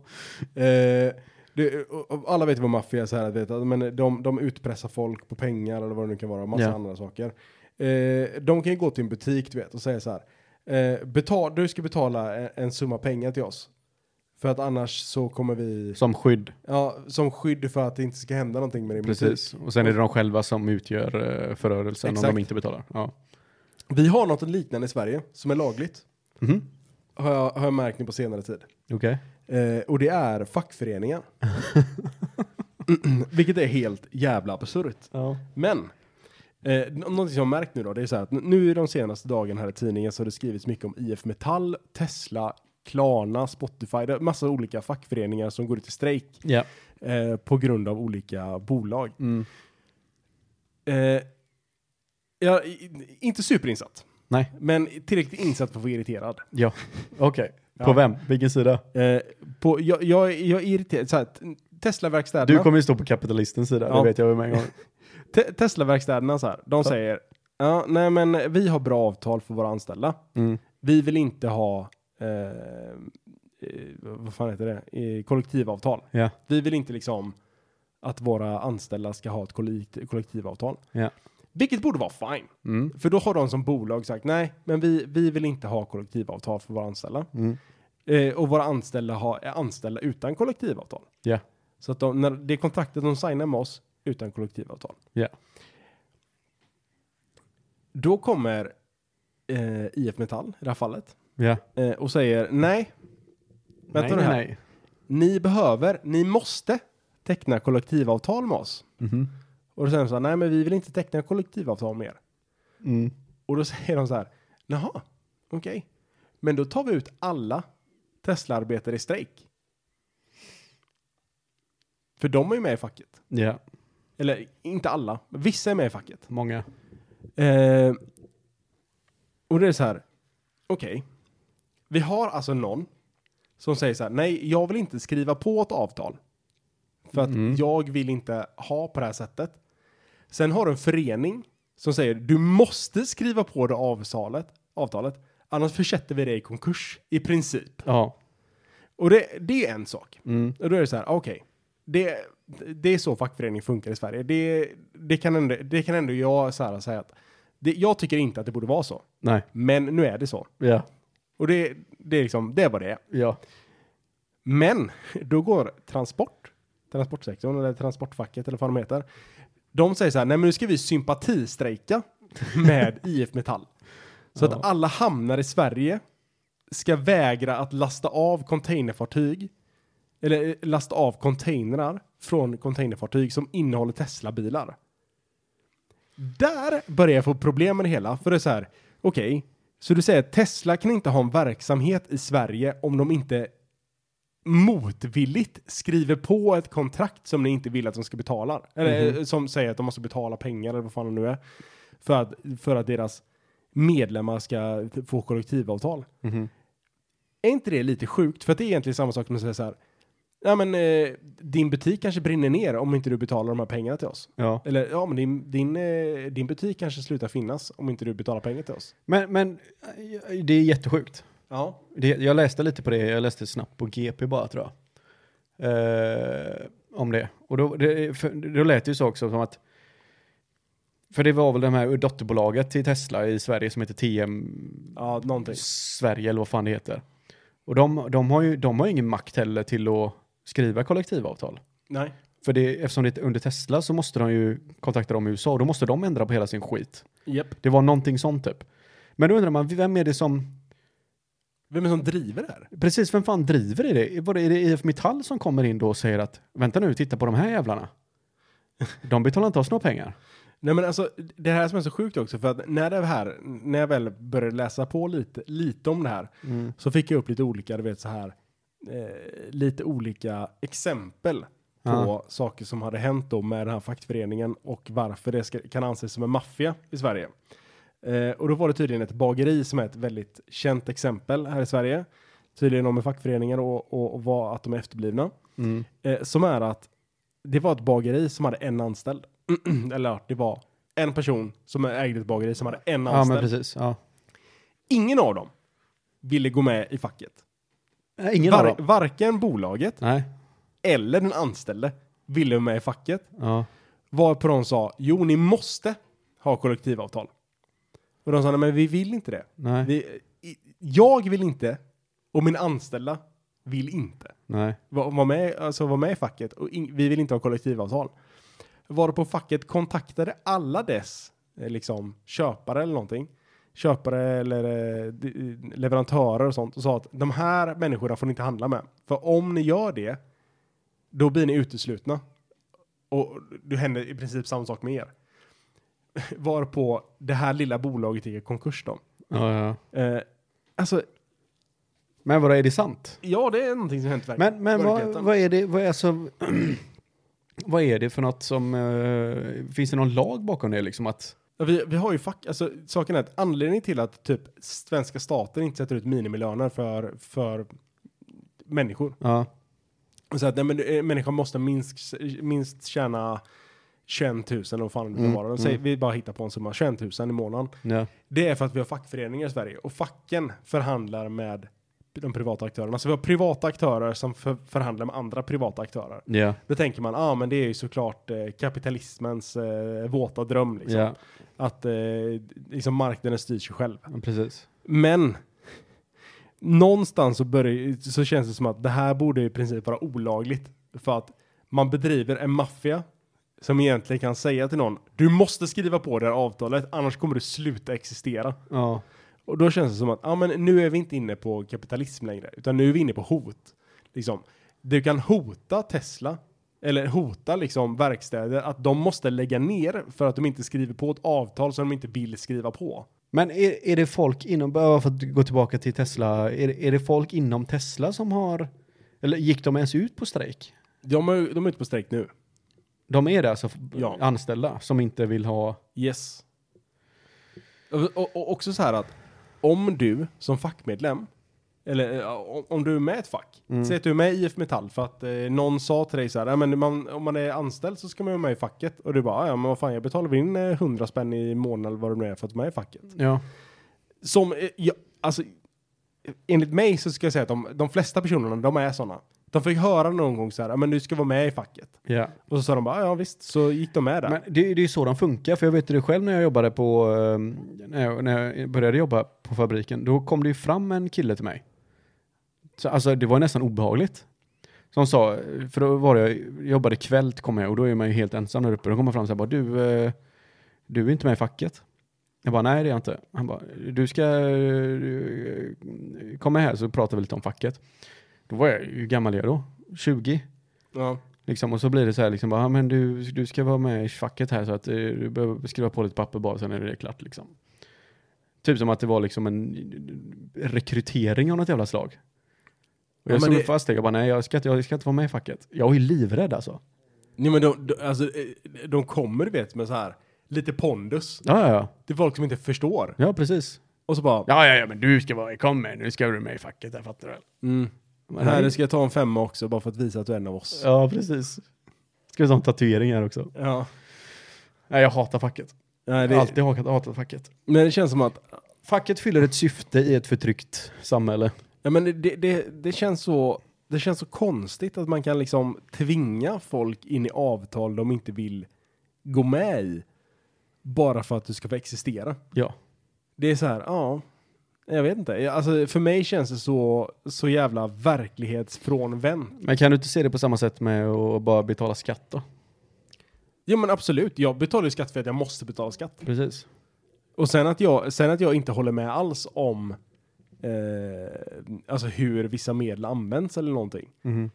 S4: eh, du Det, och- och alla vet vad maffia är så här, vet, att- men de, de utpressar folk på pengar eller vad det nu kan vara, massa
S3: Ja.
S4: andra saker. Eh, de kan ju gå till en butik du vet, och säga så här, eh, betal, du ska betala en, en summa pengar till oss. För att annars så kommer vi,
S3: (laughs) Som skydd,
S4: ja, som skydd för att det inte ska hända någonting med din butik.
S3: precis. Och sen är det de själva som utgör eh, förörelsen om
S4: Exakt.
S3: de inte betalar. Ja.
S4: Vi har något liknande i Sverige som är lagligt,
S3: Mhm.
S4: har jag, har jag märkt nu på senare tid.
S3: Okej.
S4: Eh, och det är
S3: (laughs)
S4: fackföreningar. (clears throat) Vilket är helt jävla absurt.
S3: Ja.
S4: Men, eh, nå- någonting som jag har märkt nu då, det är så här att n- nu i de senaste dagarna här i tidningen så har det skrivits mycket om IF Metall, Tesla, Klarna, Spotify, det är massa olika fackföreningar som går ut i strejk
S3: Ja.
S4: eh, på grund av olika bolag.
S3: Mm.
S4: Eh, jag är i- inte superinsatt,
S3: Nej.
S4: men tillräckligt insatt för att vara irriterad.
S3: Ja. Okej.
S4: Ja.
S3: På vem? Vilken sida?
S4: Eh, på, jag, jag, jag är irriterad, så här, t-
S3: Du
S4: Tesla-verkstäderna,
S3: kommer ju stå på kapitalistens sida,
S4: Ja.
S3: det vet jag väl med en gång.
S4: te, Tesla-verkstäderna så här, de säger ja, nej men vi har bra avtal för våra anställda.
S3: (laughs) Mm.
S4: vi vill inte ha eh, eh, vad fan heter det? Eh, kollektivavtal.
S3: Ja.
S4: Vi vill inte liksom att våra anställda ska ha ett kollekt- kollektivavtal.
S3: Ja.
S4: Vilket borde vara fine.
S3: Mm.
S4: För då har de som bolag sagt nej, men vi, vi vill inte ha kollektivavtal för våra anställda.
S3: Mm.
S4: Eh, och våra anställda har, är anställda utan kollektivavtal.
S3: Ja.
S4: Så att de, när, det är kontraktet de signar med oss utan kollektivavtal.
S3: Ja.
S4: Då kommer eh, IF Metall i det här fallet
S3: Ja.
S4: eh, och säger nej, Vänta
S3: nej,
S4: nu här.
S3: nej, nej.
S4: ni behöver, ni måste teckna kollektivavtal med oss.
S3: Mhm.
S4: Och då säger de så här, nej men vi vill inte teckna kollektivavtal med er.
S3: Mm.
S4: Och då (laughs) säger de så här, jaha, okej. Men då tar vi ut alla Tesla-arbetare i strejk. För de är ju med i facket.
S3: Ja.
S4: Eller inte alla, men vissa är med i facket.
S3: Många.
S4: Eh, och det är så här, okej. Vi har alltså någon som säger så här, nej, jag vill inte skriva på ett avtal. För att
S3: Mm.
S4: jag vill inte ha på det här sättet. Sen har du en förening som säger, du måste skriva på det avtalet, avtalet annars försätter vi dig i konkurs, i princip.
S3: Ja.
S4: Och det, det är en sak.
S3: Mm.
S4: Och då är det så här, okej. Det, det är så fackförening funkar i Sverige. Det, det, kan, ändå, det kan ändå jag så här säga att det, jag tycker inte att det borde vara så.
S3: Nej.
S4: Men nu är det så.
S3: Ja.
S4: Och det, det är liksom, det är vad det är.
S3: Ja.
S4: Men då går transport, transportsektorn eller transportfacket eller vad de heter. De säger så här, nej men nu ska vi sympatistrejka med IF Metall. Så
S3: Ja.
S4: att alla hamnar i Sverige ska vägra att lasta av containerfartyg eller eh, lasta av containrar från containerfartyg som innehåller Tesla-bilar. Där börjar jag få problem med det hela, för det är så här, okej, så du säger att Tesla kan inte ha en verksamhet i Sverige om de inte motvilligt skriver på ett kontrakt som ni inte vill att de ska betala. Eller eh, som säger att de måste betala pengar eller vad fan det nu är. För att, för att deras medlemmar ska få kollektivavtal.
S3: Mhm.
S4: Är inte det lite sjukt? För att det är egentligen samma sak som att säga så här. Ja men eh, din butik kanske brinner ner om inte du betalar de här pengarna till oss.
S3: Ja.
S4: Eller ja men din, din, eh, din butik kanske slutar finnas om inte du betalar pengar till oss.
S3: Men, men eh, det är jättesjukt.
S4: Ja.
S3: Det, jag läste lite på det, jag läste snabbt på GP bara tror jag. Eh, om det. Och då, det, för, då lät det ju så också som att för det var väl det här dotterbolaget till Tesla i Sverige som heter TM
S4: Ja någonting.
S3: Sverige eller vad fan det heter. Och de, de har ju de har ju ingen makt heller till att skriva kollektivavtal.
S4: Nej.
S3: För det, eftersom det är under Tesla så måste de ju kontakta dem i USA och då måste de ändra på hela sin skit.
S4: Japp.
S3: Det var någonting sånt typ. Men då undrar man, vem är det som
S4: Vem är det som driver det här?
S3: Precis, vem fan driver i det? Var det, är det IF Metall som kommer in då och säger att vänta nu, titta på de här jävlarna. De betalar inte oss några pengar.
S4: Nej men alltså, det här som är så sjukt också, för att när det här, när jag väl började läsa på lite, lite om det här,
S3: Mm.
S4: så fick jag upp lite olika, du vet så här, eh, lite olika exempel på
S3: Ja.
S4: saker som hade hänt då med den här fackföreningen och varför det ska, kan anses som en maffia i Sverige. Eh, och då var det tydligen ett bageri som är ett väldigt känt exempel här i Sverige, tydligen om med fackföreningar och, och, och vad, att de är efterblivna,
S3: Mm.
S4: eh, som är att det var ett bageri som hade en anställd. (clears throat) Eller ja, det var en person som ägde ett bageri som hade en
S3: Ja, men
S4: anställd.
S3: precis. Ja.
S4: Ingen av dem ville gå med i facket.
S3: Nej, Ingen
S4: Var,
S3: av dem.
S4: varken bolaget
S3: Nej.
S4: eller den anställde ville vara med i facket.
S3: Ja.
S4: Varpå de sa, jo ni måste ha kollektivavtal. Och de sa, nej men vi vill inte det.
S3: Nej.
S4: Vi, i- jag vill inte och min anställda vill inte
S3: Nej.
S4: var, var, med, alltså var med i facket och in, vi vill inte ha kollektivavtal. Varpå facket kontaktade alla dess eh, liksom, köpare eller någonting. Köpare eller eh, d- eh, leverantörer och sånt och sa att de här människorna får ni inte handla med. För om ni gör det, då blir ni uteslutna. Och det händer i princip samma sak med er. (laughs) Varpå det här lilla bolaget gick i konkurs då.
S3: Ja, ja.
S4: Eh, alltså,
S3: Men vadå, är det sant?
S4: ja det är någonting som hänt verkligen.
S3: Men, men vad,
S4: verkligheten.
S3: vad är det, vad är alltså, (clears throat) vad är det för något som, eh, finns det någon lag bakom det liksom att,
S4: Ja, vi, vi har ju fack, alltså saken är att anledningen till att typ svenska staten inte sätter ut minimilöner för, för människor.
S3: ja,
S4: Så att nej, men, eh, människan måste minst, minst tjäna 21 000 och vad fan det kan
S3: Mm,
S4: vara. Säg, Vi bara hittar på en summa, 21 000 i månaden.
S3: ja,
S4: Det är för att vi har fackföreningar i Sverige och facken förhandlar med de privata aktörerna. Så vi har privata aktörer som för, förhandlar med andra privata aktörer.
S3: ja,
S4: Då tänker man, ja ah, men det är ju såklart eh, kapitalismens eh, våta dröm liksom.
S3: ja,
S4: Att eh, liksom marknaden styr sig själv.
S3: precis.
S4: Men någonstans så, börjar, så känns det som att det här borde i princip vara olagligt. För att man bedriver en maffia som egentligen kan säga till någon du måste skriva på det här avtalet annars kommer du sluta existera.
S3: Ja,
S4: Och då känns det som att ah, men nu är vi inte inne på kapitalism längre utan nu är vi inne på hot. Liksom, du kan hota Tesla eller hota liksom verkstäder att de måste lägga ner för att de inte skriver på ett avtal som de inte vill skriva på.
S3: men är, är det folk inom, bara för att gå tillbaka till Tesla, är, är det folk inom Tesla som har, eller gick de ens ut på strejk?
S4: De är, de är ute på strejk nu.
S3: De är det alltså, f-
S4: Ja.
S3: anställda som inte vill ha,
S4: Yes. Och, och, och också så här att om du som fackmedlem, eller eh, om, om du är med i ett fack, säg att du är med i IF Metall för att eh, någon sa till dig så här, "Ja, men man, om man är anställd så ska man vara med i facket. Och du bara, "Ah, ja men vad fan jag betalar väl in eh, 100 spänn i månaden eller vad det nu är för att vara med i facket.
S3: ja,
S4: Som, eh, ja, alltså, eh, enligt mig så ska jag säga att de, de flesta personerna, de är sådana. De fick höra någon gång så här, "Ja, men du ska vara med i facket.
S3: ja.
S4: Och så sa de bara, "Ah, ja visst, så gick de med där.
S3: Men det, det är ju så de funkar, för jag vet ju det själv när jag jobbade på, eh, när jag, när jag började jobba på fabriken, då kom det ju fram en kille till mig. Så, alltså det var nästan obehagligt. Som sa, för då var jag, jobbade kväll kom jag och då är man ju helt ensam där uppe. Då kommer fram och säger bara, du, eh, du är inte med i facket. Jag bara, nej det är jag inte. Han bara, du ska eh, komma här så pratar vi lite om facket. Då var jag, hur gammal är jag då? 20?
S4: ja.
S3: Liksom, och så blir det så här, liksom, bara, "Ah, men du, du ska vara med i facket här så att eh, du behöver skriva på lite papper bara, sen är det klart. Liksom. Typ som att det var liksom en rekrytering av något jävla slag. Och
S4: Ja, men
S3: jag stod
S4: det-
S3: fast där, jag bara nej jag ska, inte, jag ska inte vara med i facket. Jag är livrädd alltså.
S4: Nej men de, de, alltså, eh, de kommer du vet med så här lite pondus.
S3: Ja, ja, ja.
S4: Det är folk som inte förstår.
S3: ja precis.
S4: Och så bara,
S3: Ja, ja, ja, men du ska vara, kom med, nu ska du med i facket, jag fattar väl.
S4: mm,
S3: Men
S4: här
S3: nej.
S4: ska jag ta en femma också bara för att visa att du är en av oss.
S3: Ja, precis. Ska vi ta en tatuering här också?
S4: Ja.
S3: Nej, jag hatar facket.
S4: Nej,
S3: Jag har
S4: det,
S3: alltid hatat, hatat facket.
S4: men det känns som att,
S3: Facket fyller ett syfte i ett förtryckt samhälle.
S4: ja, men det, det, det känns så, det känns så konstigt att man kan liksom tvinga folk in i avtal de inte vill gå med i. Bara för att du ska få existera.
S3: Ja.
S4: Det är så här, ja. Jag vet inte. Alltså, för mig känns det så, så jävla verklighetsfrånvänt.
S3: Men kan du inte se det på samma sätt med att bara betala skatt då?
S4: Ja men absolut, jag betalar ju skatt för att jag måste betala skatt.
S3: Precis.
S4: Och sen att jag, sen att jag inte håller med alls om eh, alltså hur vissa medel används eller någonting.
S3: Mhm.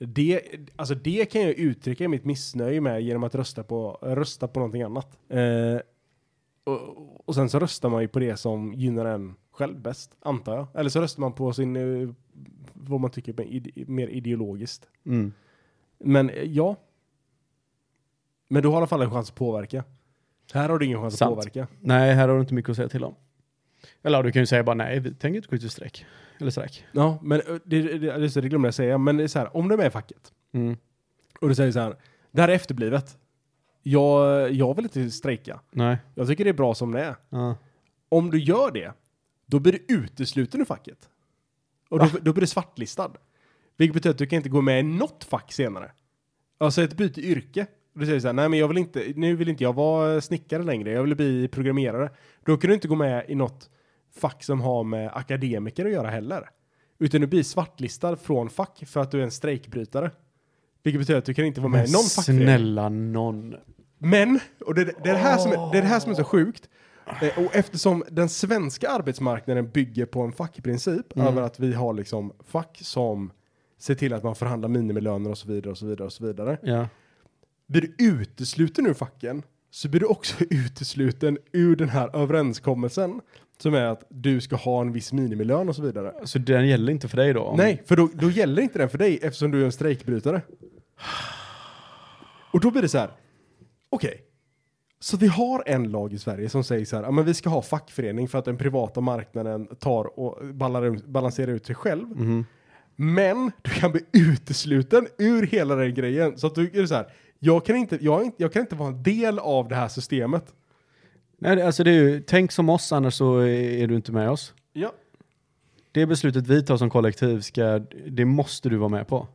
S4: Det, alltså det kan jag uttrycka mitt missnöje med genom att rösta på, rösta på någonting annat. Eh, och, och sen så röstar man ju på det som gynnar en själv bäst, antar jag. Eller så röstar man på sin, eh, vad man tycker är ide, mer ideologiskt.
S3: Mm.
S4: Men eh, ja. Men du har i alla fall en chans att påverka. Här har du ingen chans
S3: Sant.
S4: att påverka.
S3: Nej, här har du inte mycket att säga till om. Eller ja, du kan ju säga bara nej, vi tänker inte gå ut i strejk. Eller strejk.
S4: Ja, men eh, det, det, det, just det, det glömde jag säga. Men det är så här, om du är med i facket
S3: Mm.
S4: och du säger så här, det här är efterblivet. Jag, jag vill inte strejka.
S3: Nej.
S4: Jag tycker det är bra som det är.
S3: Ja.
S4: Om du gör det, då blir du utesluten ur facket. Och då, då blir du svartlistad. Vilket betyder att du kan inte gå med i något fack senare. Alltså ett byte yrke. Du säger så här, nej men jag vill inte, nu vill inte jag vara snickare längre, jag vill bli programmerare. Då kan du inte gå med i något fack som har med akademiker att göra heller. Utan du blir svartlistad från fack för att du är en strejkbrytare. Vilket betyder att du kan inte vara med i någon fackförening.
S3: snälla någon.
S4: Men, och det, det, är det, här som är, det är det här som är så sjukt. Eh, Och eftersom den svenska arbetsmarknaden bygger på en fackprincip över att vi har liksom fack som ser till att man förhandlar minimilöner och så vidare och så vidare och så vidare.
S3: Ja.
S4: Blir du utesluten ur facken så blir du också (laughs) utesluten ur den här överenskommelsen som är att du ska ha en viss minimilön och så vidare.
S3: Så Alltså, den gäller inte för dig då?
S4: Nej, för då, då gäller inte den för dig eftersom du är en strejkbrytare. Och då blir det så här. Okej. Så vi har en lag i Sverige som säger så här. Ja, men vi ska ha fackförening för att den privata marknaden tar och ballar, balanserar ut sig själv.
S3: Mhm.
S4: Men du kan bli utesluten ur hela den grejen. Så att du är det så här. Jag kan, inte, jag, är inte, jag kan inte vara en del av det här systemet.
S3: Nej, det- alltså det är ju, tänk som oss annars så är du inte med oss.
S4: Ja.
S3: Det beslutet vi tar som kollektiv, ska, det måste du vara med på.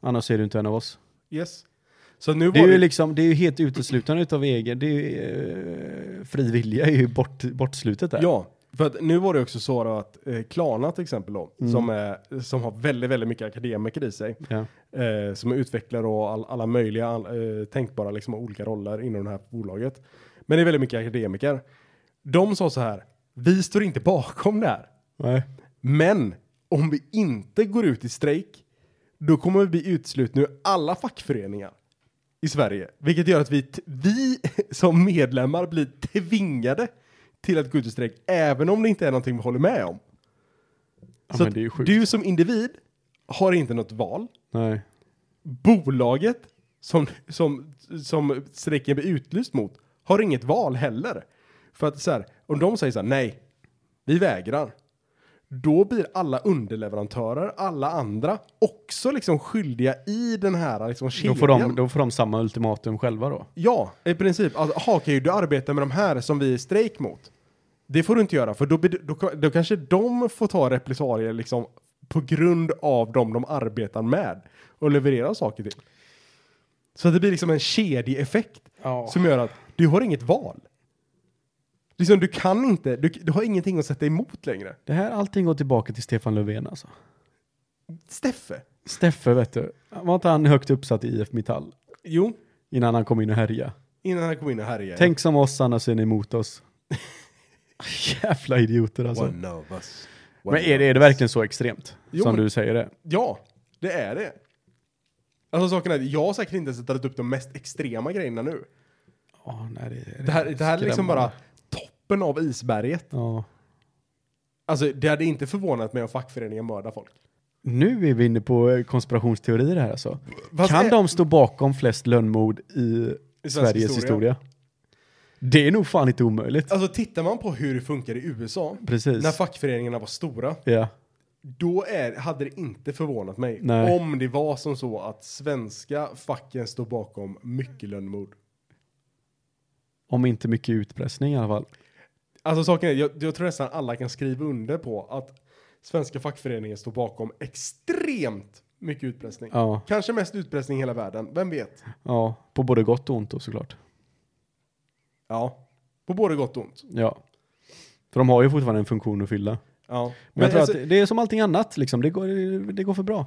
S3: Annars är du inte en av oss.
S4: Yes. Så nu
S3: Det är
S4: var
S3: ju
S4: det,
S3: liksom, det är ju helt uteslutande utav egen, det är ju, eh, fri vilja är ju bort, bortslutet där.
S4: Ja, för att nu var det också så då att eh, Klarna till exempel då, som, är, som har väldigt, väldigt mycket akademiker i sig,
S3: Ja.
S4: eh, som är utvecklare och all, alla möjliga all, eh, tänkbara liksom, olika roller inom det här bolaget. Men det är väldigt mycket akademiker. De sa så här, vi står inte bakom det här,
S3: Nej.
S4: men om vi inte går ut i strejk, då kommer vi bli utslutna ur alla fackföreningar i Sverige, vilket gör att vi, t- vi (laughs) som medlemmar blir tvingade till att gå ut i strejk, även om det inte är någonting vi håller med om.
S3: Ja,
S4: Så
S3: men
S4: att
S3: det är ju sjukt.
S4: du som individ har inte något val.
S3: Nej.
S4: Bolaget som, som, som strejken blir utlyst mot har inget val heller. För att så här, om de säger så här, nej, vi vägrar. Då blir alla underleverantörer, alla andra, också liksom skyldiga i den här liksom
S3: Då
S4: kedjan.
S3: får, de, då får de samma ultimatum själva då.
S4: Ja, i princip. Alltså, aha, okej, du arbetar med de här som vi är i strejk mot. Det får du inte göra, för då, blir- då, då kanske de får ta repressalier liksom, på grund av dem de arbetar med och levererar saker till. Så att det blir liksom en kedjeeffekt
S3: Ja.
S4: som gör att du har inget val. Liksom, du kan inte, du, du har ingenting att sätta emot längre.
S3: Det här, allting går tillbaka till Stefan Löfven alltså.
S4: Steffe?
S3: Steffe vet du, var inte han högt uppsatt i IF Metall
S4: Jo,
S3: innan han kom in och härjade?
S4: innan han kom in och härjade.
S3: Tänk som oss annars är ni emot oss. (laughs) Jävla idioter alltså.
S4: One of us. One
S3: Men är det,
S4: of
S3: är det
S4: us.
S3: verkligen så extremt?
S4: Jo,
S3: som
S4: men-
S3: du säger det?
S4: Ja, det är det. Alltså saken är att jag har säkert inte ens tagit upp de mest extrema grejerna nu.
S3: Ja, nej, det,
S4: Det här, det här är liksom bara toppen av isberget.
S3: Ja.
S4: Alltså det hade inte förvånat mig om fackföreningen mördar folk.
S3: Nu är vi inne på eh, konspirationsteorier här alltså.
S4: Fast
S3: kan
S4: är-
S3: de stå bakom flest lönnmord i, Sveriges
S4: historia?
S3: historia? Det är nog fan inte omöjligt.
S4: Alltså tittar man på hur det funkar i USA,
S3: Precis.
S4: när fackföreningarna var stora,
S3: ja.
S4: då är, hade det inte förvånat mig
S3: Nej.
S4: om det var som så att svenska facken står bakom mycket lönnmord.
S3: Om inte mycket utpressning i alla fall.
S4: Alltså saken är, jag, jag tror nästan alla kan skriva under på att svenska fackföreningen står bakom extremt mycket utpressning.
S3: Ja.
S4: Kanske mest utpressning i hela världen, vem vet?
S3: ja, på både gott och ont då såklart.
S4: Ja. På både gott och ont.
S3: Ja. För de har ju fortfarande en funktion att fylla. Men,
S4: Ja. Men,
S3: jag tror
S4: alltså,
S3: att det- det är som allting annat, liksom. det, går, det går för bra.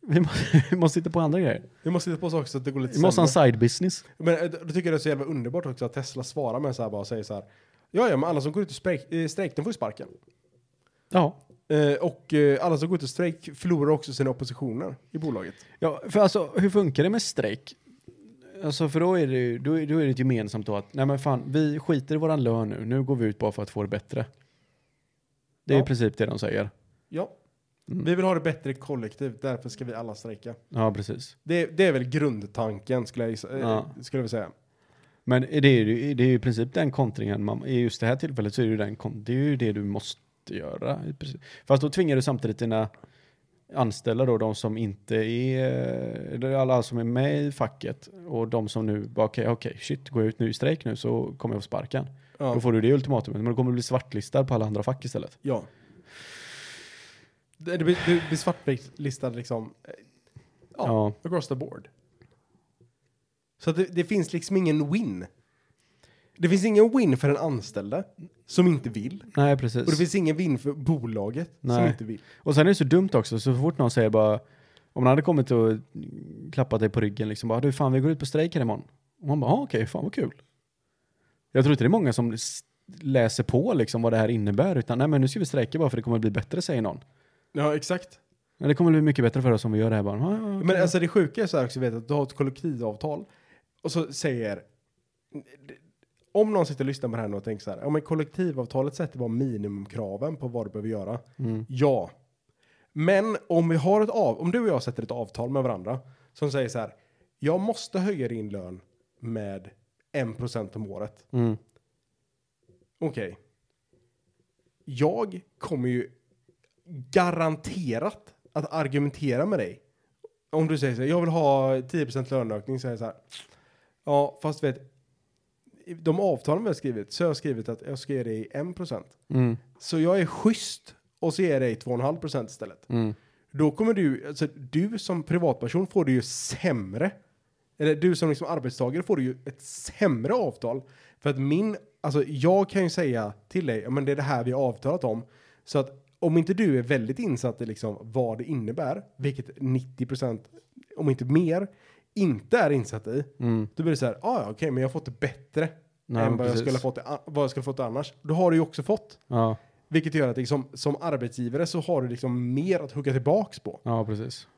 S3: Vi måste, (laughs) vi måste hitta på andra grejer.
S4: vi måste hitta på saker så att det går lite
S3: Vi måste ha
S4: sämre.
S3: en side business.
S4: Men eh, då tycker jag det är så jävla underbart också att Tesla svarar med så här bara och säger så här. Ja, ja, men alla som går ut i strejk, eh, strejk de får ju sparken.
S3: Ja.
S4: Eh, och eh, alla som går ut i strejk förlorar också sina oppositioner i bolaget.
S3: Ja, för alltså hur funkar det med strejk? Alltså för då är det ju då är, då är det ett gemensamt då att nej men fan, vi skiter i våran lön nu, nu går vi ut bara för att få det bättre. Det är
S4: Ja.
S3: i princip det de säger.
S4: Ja.
S3: Mm.
S4: Vi vill ha det bättre kollektivt, därför ska vi alla strejka.
S3: Ja, precis.
S4: Det, det är väl grundtanken skulle jag, gissa- eh,
S3: Ja.
S4: skulle jag vilja säga.
S3: Men det är ju, det är ju i princip den kontringen, man, i just det här tillfället så är det ju den, kon- det är ju det du måste göra. i princip. Fast då tvingar du samtidigt dina anställda då, de som inte är, eller alla som är med i facket och de som nu bara okej, okej, shit, går jag ut nu i strejk nu så kommer jag få sparken.
S4: Ja.
S3: Då får du det ultimatumet, men då kommer du bli svartlistad på alla andra fack istället.
S4: ja. Det det blir, det blir svartlistad liksom. eh, Ja,
S3: Ja.
S4: across the board. Så att det, det finns liksom ingen win. Det finns ingen win för den anställde som inte vill.
S3: Nej,
S4: Och det
S3: precis.
S4: finns ingen vin för bolaget som
S3: Nej.
S4: inte vill.
S3: Och sen är det så dumt också, så fort någon säger bara, om man hade kommit och klappat dig på ryggen liksom bara, du fan vi går ut på strejk här imorgon. Och man bara, ah, okej, fan vad kul. Jag tror inte det är många som s- läser på liksom vad det här innebär, utan nej men nu ska vi strejka bara för det kommer bli bättre, säger någon.
S4: Ja, exakt.
S3: Men det kommer bli mycket bättre för oss om vi gör det här bara. "Ah, ja,
S4: Men alltså det sjuka är så här också, vet, att du har ett kollektivavtal och så säger om någon sitter och lyssnar på det här nu och tänker så här, ja men kollektivavtalet sätter bara minimumkraven på vad du behöver göra. Ja. Men om vi har ett av, om du och jag sätter ett avtal med varandra som säger så här, jag måste höja din lön med 1% om året.
S3: Mm.
S4: Okej. Jag kommer ju garanterat att argumentera med dig. Om du säger så här, jag vill ha 10% löneökning, säger jag så här. Ja, fast vet, de avtalen vi har skrivit, så har jag skrivit att jag ska ge dig 1%.
S3: Mm.
S4: Så jag är schysst och så ger jag dig 2,5% istället.
S3: Mm.
S4: Då kommer du, alltså du som privatperson får du ju sämre. Eller du som liksom arbetstagare får du ju ett sämre avtal. För att min, alltså jag kan ju säga till dig, ja men det är det här vi har avtalat om. Så att om inte du är väldigt insatt i liksom vad det innebär, vilket 90% om inte mer, inte är insatt i.
S3: Mm.
S4: Då blir det så här, ah, ja okej men jag har fått det bättre
S3: Nej,
S4: än
S3: men
S4: vad jag,
S3: precis.
S4: skulle ha fått, det- vad jag skulle ha fått annars. Då har du ju också fått.
S3: Ja.
S4: Vilket gör att liksom, som arbetsgivare så har du liksom mer att hugga tillbaks på.
S3: ja, precis.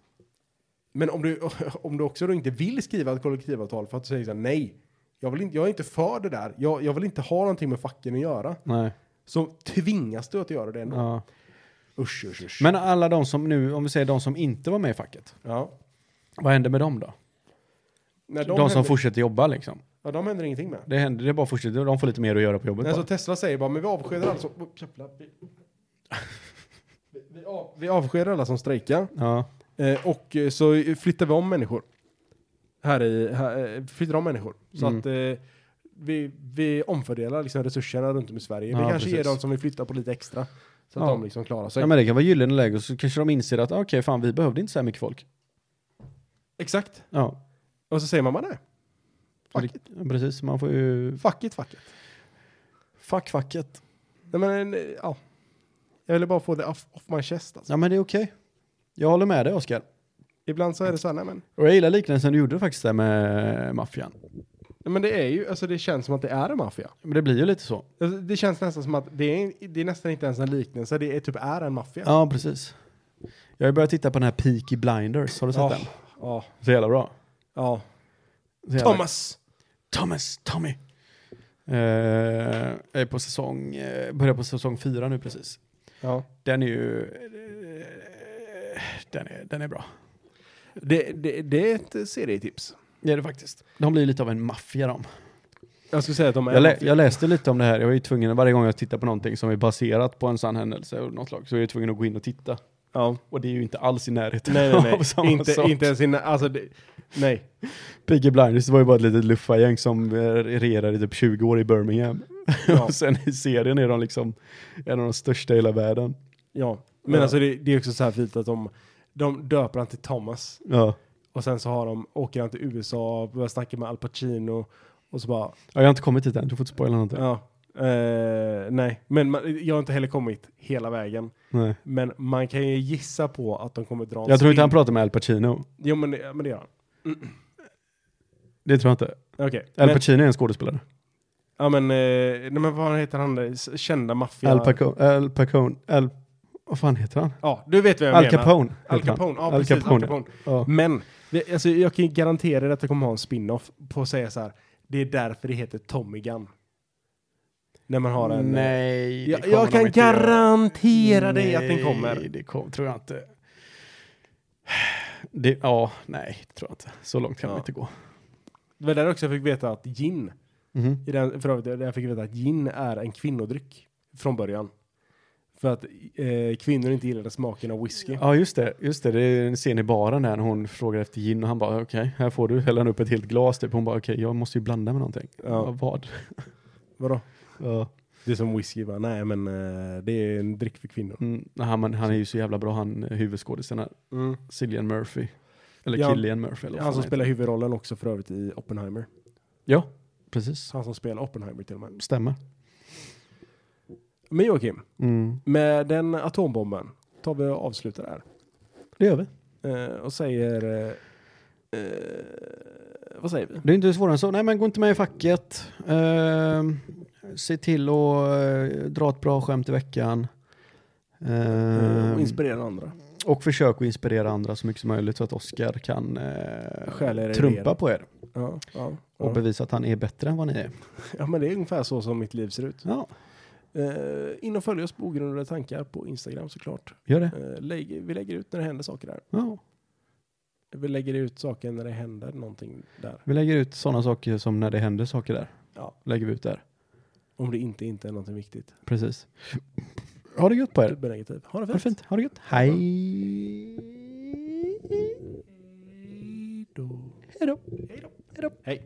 S4: Men om du, (laughs) om du också då inte vill skriva ett kollektivavtal för att du säger så här, nej, jag, vill inte, jag är inte för det där, jag, jag vill inte ha någonting med facken att göra.
S3: Nej.
S4: Så tvingas du att göra det ändå.
S3: Ja.
S4: Usch, usch, usch.
S3: Men alla de som nu, om vi säger de som inte var med i facket,
S4: ja.
S3: vad händer med dem då?
S4: När
S3: De,
S4: de,
S3: som
S4: händer,
S3: fortsätter jobba liksom.
S4: ja, de händer ingenting med.
S3: Det händer, det är bara fortsätter, de får lite mer att göra på jobbet
S4: Nej, så
S3: bara.
S4: Tesla säger bara, men vi avskedar alltså... Oh, jävlar, vi, vi, (laughs) vi, av, vi avskedar alla som strejkar.
S3: Ja.
S4: Eh, och eh, så flyttar vi om människor. Här i, här, eh, flyttar om människor. Så
S3: Mm.
S4: att eh, vi, vi omfördelar liksom resurserna runt om i Sverige. vi
S3: Ja,
S4: kanske ger
S3: precis.
S4: dem som vi flyttar på lite extra. Så att
S3: Ja.
S4: de liksom klarar sig.
S3: ja, men det kan vara gyllene läge och så kanske de inser att ah, okej, fan vi behövde inte så här mycket folk.
S4: Exakt.
S3: Ja,
S4: Och så säger man bara nej.
S3: Så
S4: Fuck
S3: det- precis. Man får ju...
S4: Fuck it, fuck it.
S3: Fuck facket.
S4: Nej men, eh, ja. Jag ville bara få det off, off my chest alltså.
S3: Ja, men det är okej. Jag håller med dig, Oskar.
S4: Ibland så är det så här, nej men.
S3: Och jag gillar liknelsen du gjorde faktiskt där med maffian.
S4: Nej, men det är ju, alltså det känns som att det är en maffia.
S3: Men det blir ju lite så.
S4: Alltså, det känns nästan som att det är, det är nästan inte ens en liknelse. Det är typ är en maffia.
S3: Ja, precis. Jag har ju börjat titta på den här Peaky Blinders. Har du sett
S4: Ja.
S3: den?
S4: Ja.
S3: Så jävla bra.
S4: ja.
S3: Så jävla-
S4: Thomas!
S3: Thomas! Tommy! Eh, jag är på säsong... eh, börjar på säsong fyra nu precis.
S4: Ja.
S3: Den är ju... eh, den, är, den är bra.
S4: Det, det, det är ett serietips.
S3: Det är det faktiskt. De blir lite av en maffia de.
S4: Jag skulle säga att de är...
S3: Jag, lä jag läste lite om det här, jag är ju tvungen, varje gång jag tittar på någonting som är baserat på en sann händelse av något slag, så är jag tvungen att gå in och titta.
S4: ja.
S3: Och det är ju inte alls i närheten
S4: Nej, nej, (laughs)
S3: av
S4: nej.
S3: samma
S4: inte,
S3: sak.
S4: inte ens innan... Alltså, det, nej.
S3: Peaky Blinders var ju bara ett litet luffargäng som eh, regerade i typ 20 år i Birmingham.
S4: Ja.
S3: (laughs) och sen i serien är de liksom en av de största i hela världen.
S4: ja. Men
S3: Ja.
S4: alltså det, det är också så här fint att de, de döper han till Thomas.
S3: Ja.
S4: Och sen så har de, åker han till USA och börjar snacka med Al Pacino. Och så bara,
S3: ja, jag har inte kommit dit än, du får inte spoila någonting.
S4: ja. eh, nej, men man, jag har inte heller kommit hela vägen.
S3: Nej.
S4: Men man kan ju gissa på att de kommer dra en
S3: Jag tror inte han
S4: sving.
S3: pratar med Al Pacino.
S4: Jo, men, det- men det gör han.
S3: Det tror jag inte.
S4: Okej.
S3: Al
S4: Men-
S3: Pacino är en skådespelare.
S4: Ja men, eh, nej, men vad heter han, eh, s- kända maffia...
S3: Al Pacone, Al Pacone, Al... Vad fan heter han?
S4: Ja, du vet vem jag
S3: Al
S4: menar.
S3: Capone.
S4: Al
S3: heter han.
S4: Capone, ja
S3: Al
S4: precis.
S3: Capone.
S4: Al Capone.
S3: Ja.
S4: Men, det, alltså, jag kan ju garantera er att det kommer ha en spin-off på att säga så här. Det är därför det heter Tommy Gun. När man har en... eh,
S3: Nej,
S4: jag, jag kan garantera dig att den kommer.
S3: Nej, det kom, tror jag inte. Det, ja, nej, det tror jag inte. Så långt kan
S4: Ja.
S3: man inte gå.
S4: Det var där också jag fick veta att gin,
S3: Mhm.
S4: i den, för övrigt, där jag fick veta att gin är en kvinnodryck från början. För att eh, kvinnor inte gillade smaken av whisky.
S3: Ja, just det. Just det, det är en scen i baren där när hon frågar efter gin och han bara okej, här får du. Häller han upp ett helt glas typ. Hon bara okej, jag måste ju blanda med någonting.
S4: Ja.
S3: Ja. Vad?
S4: Vadå?
S3: Ja.
S4: Det är som whisky va? Nej men eh, det är en dryck för kvinnor.
S3: Mm, han, men han är ju så jävla bra han eh, huvudskådisen här. Cillian Murphy. Eller
S4: Ja.
S3: Killian Murphy. Eller vad
S4: Han
S3: fan
S4: som
S3: heter.
S4: spelar huvudrollen också för övrigt i Oppenheimer.
S3: Ja, precis.
S4: Han som spelar Oppenheimer till och med.
S3: Stämmer.
S4: Men Joakim,
S3: Mm.
S4: med den atombomben tar vi och avslutar här.
S3: Det gör vi.
S4: Eh, och säger... eh, eh, vad säger vi?
S3: Det är inte svårare än så. Nej, men gå inte med i facket. Ehm, se till att eh, dra ett bra skämt i veckan. Ehm,
S4: Eh, och inspirera andra.
S3: och försök att inspirera andra så mycket som möjligt så att Oscar kan eh,
S4: Stjäl era idéer.
S3: trumpa på er
S4: Ja, ja,
S3: och
S4: ja.
S3: bevisa att han är bättre än vad ni är.
S4: ja, men det är ungefär så som mitt liv ser ut.
S3: Ja,
S4: Eh, in och följ oss på ogrundade tankar på Instagram såklart.
S3: gör det.
S4: Eh, lägger, vi lägger ut när det händer saker där.
S3: Ja.
S4: Vi lägger ut saker när det händer någonting där.
S3: Vi lägger ut sådana saker som när det händer saker där.
S4: Ja.
S3: Lägger vi ut där.
S4: Om det inte, inte är någonting viktigt.
S3: Precis. Ha det gött på er.
S4: Dubbelnegativ. Ha det
S3: Ha det
S4: fint.
S3: fint. Ha det gött. Hej.
S4: Hej då.
S3: Hej då.
S4: Hej.